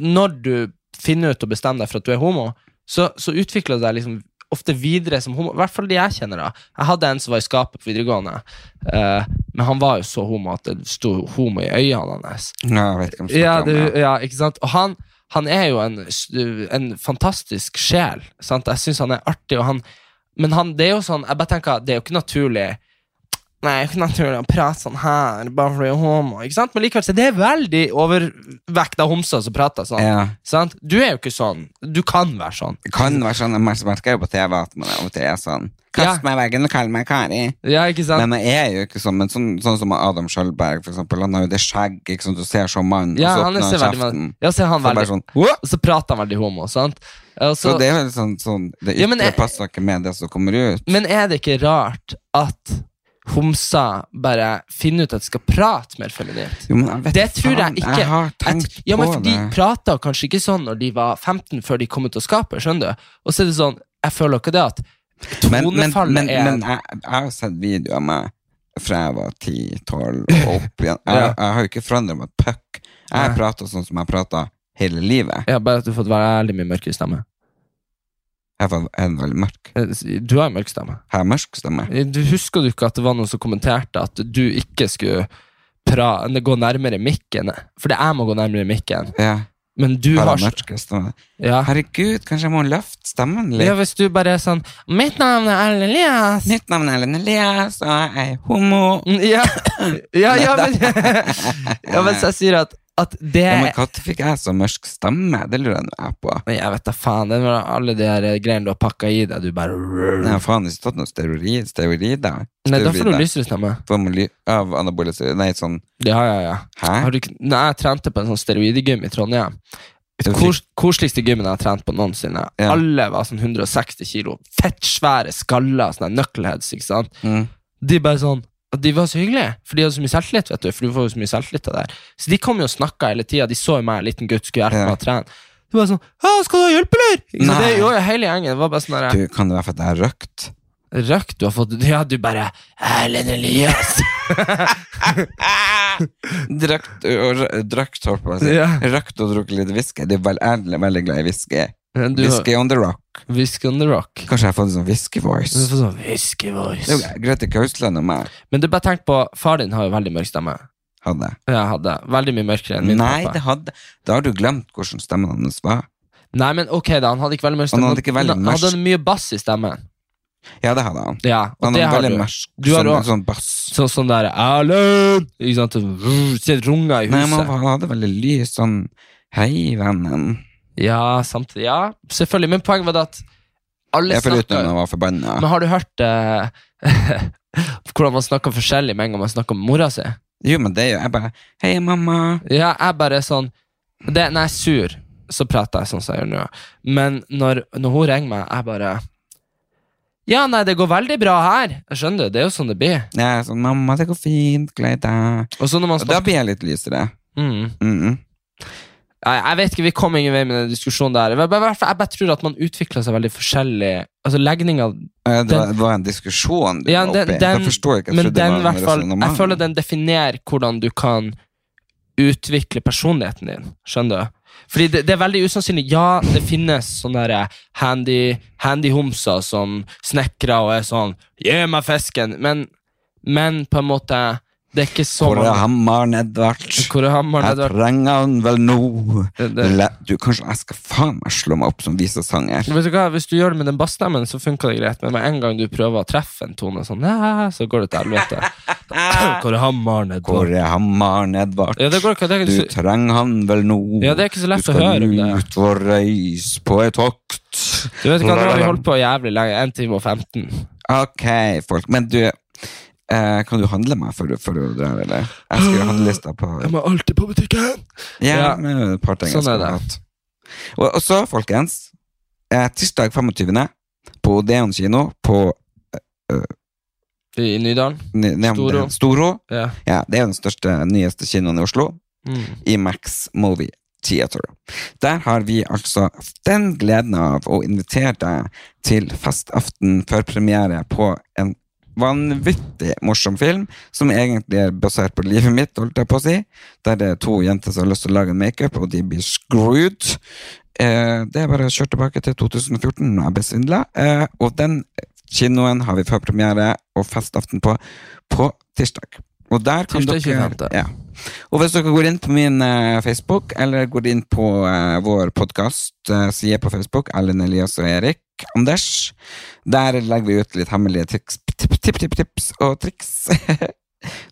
S2: Når du finner ut og bestemmer deg for at du er homo, så, så utvikler du deg liksom ofte videre som homo. I hvert fall de jeg kjenner. da Jeg hadde en som var i skapet på videregående, eh, men han var jo så homo at det sto homo i øynene hans.
S1: Ja, jeg vet ikke om jeg
S2: Ja,
S1: snakker
S2: du,
S1: om det.
S2: ja, ikke sant? Og han, han er jo en, s- en fantastisk sjel. Sant? Jeg syns han er artig, og han Men han, det er jo sånn Jeg bare tenker, det er jo ikke naturlig Nei, det er jo ikke naturlig å prate sånn her, bare fordi jeg er homo. Ikke sant? Men likevel så er det veldig overvekt av homser som prater sånn.
S1: Ja.
S2: Sant? Du er jo ikke sånn. Du kan være sånn.
S1: Det kan være sånn, men jeg merker jo på TV at man av og til er sånn
S2: Ja.
S1: Kast meg i veggen og kall meg Kari.
S2: Ja, ikke sant?
S1: Men jeg er jo ikke sånn, men sånn, sånn som Adam Skjølberg, for eksempel. Han har jo det skjegg, ikke sant. Du ser som mann,
S2: ja,
S1: og så
S2: han
S1: åpner
S2: er så
S1: altså, han
S2: veldig
S1: kjeften.
S2: Ja, så er han
S1: Så bare
S2: veldig
S1: sånn,
S2: Og så prater han veldig homo, sant? Og
S1: Så det er jo litt sånn, sånn Det ytre
S2: Ja, men jeg-
S1: passer ikke med det som kommer ut.
S2: Men er det ikke rart at homser bare finner ut at de skal prate mer feminint?
S1: Jo, men jeg vet
S2: Det tror jeg
S1: faen,
S2: ikke.
S1: Jeg har tenkt
S2: Jeg- ja, men
S1: på
S2: for
S1: det.
S2: De prata kanskje ikke sånn når de var 15, før de kom ut av skapet. skjønner du? Og så er det sånn, jeg føler ikke det at
S1: Men, men,
S2: tonefallet
S1: men,
S2: er
S1: men jeg, jeg har jo sett videoer av meg fra jeg var 10-12 og opp igjen. Jeg,
S2: Ja.
S1: jeg har jo ikke forandret meg et puck. Jeg har
S2: Nei.
S1: prata sånn som jeg prata hele livet.
S2: ja, Bare at du har fått være ærlig med mørkere stemme.
S1: Jeg var jeg er en veldig mørk.
S2: Eh, Du har jo mørk stemme.
S1: Har jeg mørk stemme?
S2: Eh, Du Husker du ikke at det var noen som kommenterte at du ikke skulle pra gå nærmere mikken? Fordi jeg må gå nærmere mikken.
S1: Ja,
S2: Men du
S1: har
S2: har
S1: jeg mørk stemme?
S2: ja.
S1: Herregud, kanskje jeg må løfte stemmen
S2: ja,
S1: litt?
S2: Hvis du bare er sånn 'Mitt navn er Erlend Elias'.
S1: Mitt navn er Ellen Elias, og jeg er homo.
S2: Mm, Ja, ja, ja men, ja, men så jeg sier at At det
S1: Ja, men når fikk jeg så mørk stemme? Det lurer jeg nå jeg på.
S2: Men jeg vet da faen. Det var alle de her eh, greiene du har pakka i deg. Du bare
S1: Nei, faen, det har ikke tatt noen steroid, steroider.
S2: Nei, da får du
S1: Steroider.
S2: lysere stemme.
S1: Form av ly- Av anabole steroider. Nei, sånn
S2: Ja, ja, ja.
S1: Hæ?
S2: Har du, ikke- nei, jeg trente på en sånn steroidegym i Trondheim.
S1: Du
S2: Kos, koseligste gymmen jeg har trent på noensinne.
S1: Ja.
S2: Alle var sånn 160 kilo. Fettsvære skaller, sånne knuckleheads. ikke sant?
S1: Mm.
S2: De bare sånn og De var så hyggelige, for de hadde så mye selvtillit. vet du For du får jo Så mye selvtillit av det her Så de kom jo og snakka hele tida. De så jo meg, en liten gutt, skulle hjelpe
S1: Ja.
S2: meg å trene. De var sånn «Hæ, 'Skal du ha hjelp, eller?' Ikke sant?
S1: Nei.
S2: Det gjorde jo hele gjengen. Det var bare sånn der,
S1: Du, kan det være for at jeg har røkt?
S2: Røkt du har fått Ja, du bare Erlend Elias!
S1: Drøkt og rø- drøkt, holdt på å si.
S2: Ja.
S1: Røkt og drukket litt whisky. Det er vel, jeg er veldig glad i whisky.
S2: Du har-
S1: Whisky on the rock.
S2: Whisky on the rock.
S1: Kanskje jeg har fått en sånn whisky-voice.
S2: Du får sånn whisky voice.
S1: Det er jo Grete Kausland og meg
S2: Men du bare tenk på Far din har jo veldig mørk stemme.
S1: hadde.
S2: Jeg hadde veldig mye mørkere enn min
S1: Nei,
S2: pappa.
S1: det hadde Da har du glemt hvordan stemmen hans var.
S2: Nei, men ok da, han hadde ikke veldig mørk
S1: Han
S2: stemme.
S1: hadde ikke veldig
S2: han hadde
S1: mørk-
S2: mye bass i stemmen.
S1: Ja, det hadde han.
S2: Ja, og
S1: Han
S2: det
S1: er
S2: har
S1: veldig
S2: du.
S1: mørk.
S2: Du har
S1: sånn,
S2: også-
S1: sånn bass.
S2: Sånn sånn der Erlend! Ikke sant? Sånn, vrr, Se runga i
S1: Nei, men
S2: huset.
S1: han hadde veldig lys sånn Hei, vennen.
S2: ja, samtidig. Ja, selvfølgelig. Men poenget var det at alle
S1: Jeg føler uten
S2: snakker
S1: at han var forbanna.
S2: Men har du hørt eh, hvordan man snakker forskjellig med en gang man snakker med mora si?
S1: Jo, men det gjør jeg bare Hei, mamma.
S2: Ja, jeg bare er sånn det, Når jeg er sur, så prater jeg sånn som jeg gjør nå. Men når, når hun ringer meg, jeg bare Ja, nei, det går veldig bra her. Jeg skjønner det. Det er jo sånn det blir.
S1: Jeg er sånn Mamma, det går fint. Gled deg.
S2: Og så når man
S1: Og da
S2: snakker
S1: blir jeg litt lysere.
S2: mm.
S1: Mm.
S2: Nei, jeg vet ikke, Vi kom ingen vei med den diskusjonen der. Jeg bare, jeg bare tror at man utvikler seg veldig forskjellig. Altså legninga
S1: Eh, Det var,
S2: Den-
S1: det var en diskusjon du
S2: Ja,
S1: var
S2: den-
S1: oppe i.
S2: den-
S1: Jeg forstår ikke. Jeg
S2: Men
S1: trodde det
S2: den, i
S1: var en
S2: hvert fall, jeg
S1: resonnement.
S2: føler den definerer hvordan du kan utvikle personligheten din. Skjønner du? Fordi det, det er veldig usannsynlig. Ja, det finnes sånne der eh, handy, handy homser som snekrer og er sånn 'Gi meg fisken!' Men, men på en måte Det er ikke så
S1: Hvor er hammeren, Edvard?
S2: Hvor er hammeren?
S1: Jeg
S2: Edvard?
S1: trenger han vel nå.
S2: Det- det-
S1: Le- Du, kanskje jeg skal faen meg slå meg opp som visesanger.
S2: Vet du hva, Hvis du gjør det med den bassstemmen, så funker det greit. Men med en gang du prøver å treffe en tone, sånn, «Næ», så går det til helvete. Hvor er hammeren?
S1: Hvor
S2: Edvard?
S1: er hammeren, Edvard?
S2: Ja, det går ikke. Det er
S1: Du
S2: ikke så,
S1: trenger han vel nå.
S2: ja, det er ikke så lett å høre om
S1: Du
S2: det.
S1: skal ut og reise på et tokt.
S2: Du vet ikke, Nå har vi holdt på jævlig lenge. 1 time og 15.
S1: Ok, folk. Men du, eh, kan du handle meg før du, før du drar, eller? Jeg skal jo handle lista på
S2: må alltid på butikken!
S1: Ja,
S2: Ja.
S1: men det er et par ting jeg
S2: Sånn er
S1: skulle
S2: det.
S1: hatt. Og, og så, folkens, eh, tirsdag 25. på Odeon kino på
S2: I Nydalen?
S1: ne- ne-
S2: Storo.
S1: Storo.
S2: Ja.
S1: Ja, det er jo den største, nyeste kinoen i Oslo.
S2: Mm.
S1: i Max Movie Theater. Der har vi altså den gleden av å invitere deg til festaften før premiere på en vanvittig morsom film, som egentlig er basert på livet mitt, holdt jeg på å si. Der det er to jenter som har lyst til å lage makeup, og de blir screwed. Eh, det er bare å kjøre tilbake til 2014, når jeg ble svindla. Eh, og den kinoen har vi førpremiere og festaften på på tirsdag. Og der kan
S2: Tirsdag
S1: dere
S2: 25..
S1: ja. Og hvis dere går inn på min eh, Facebook, eller går inn på eh, vår podkast-side på Facebook, Erlend Elias og Erik Anders, der legger vi ut litt hemmelige tips, tips, tips, tips, tips og triks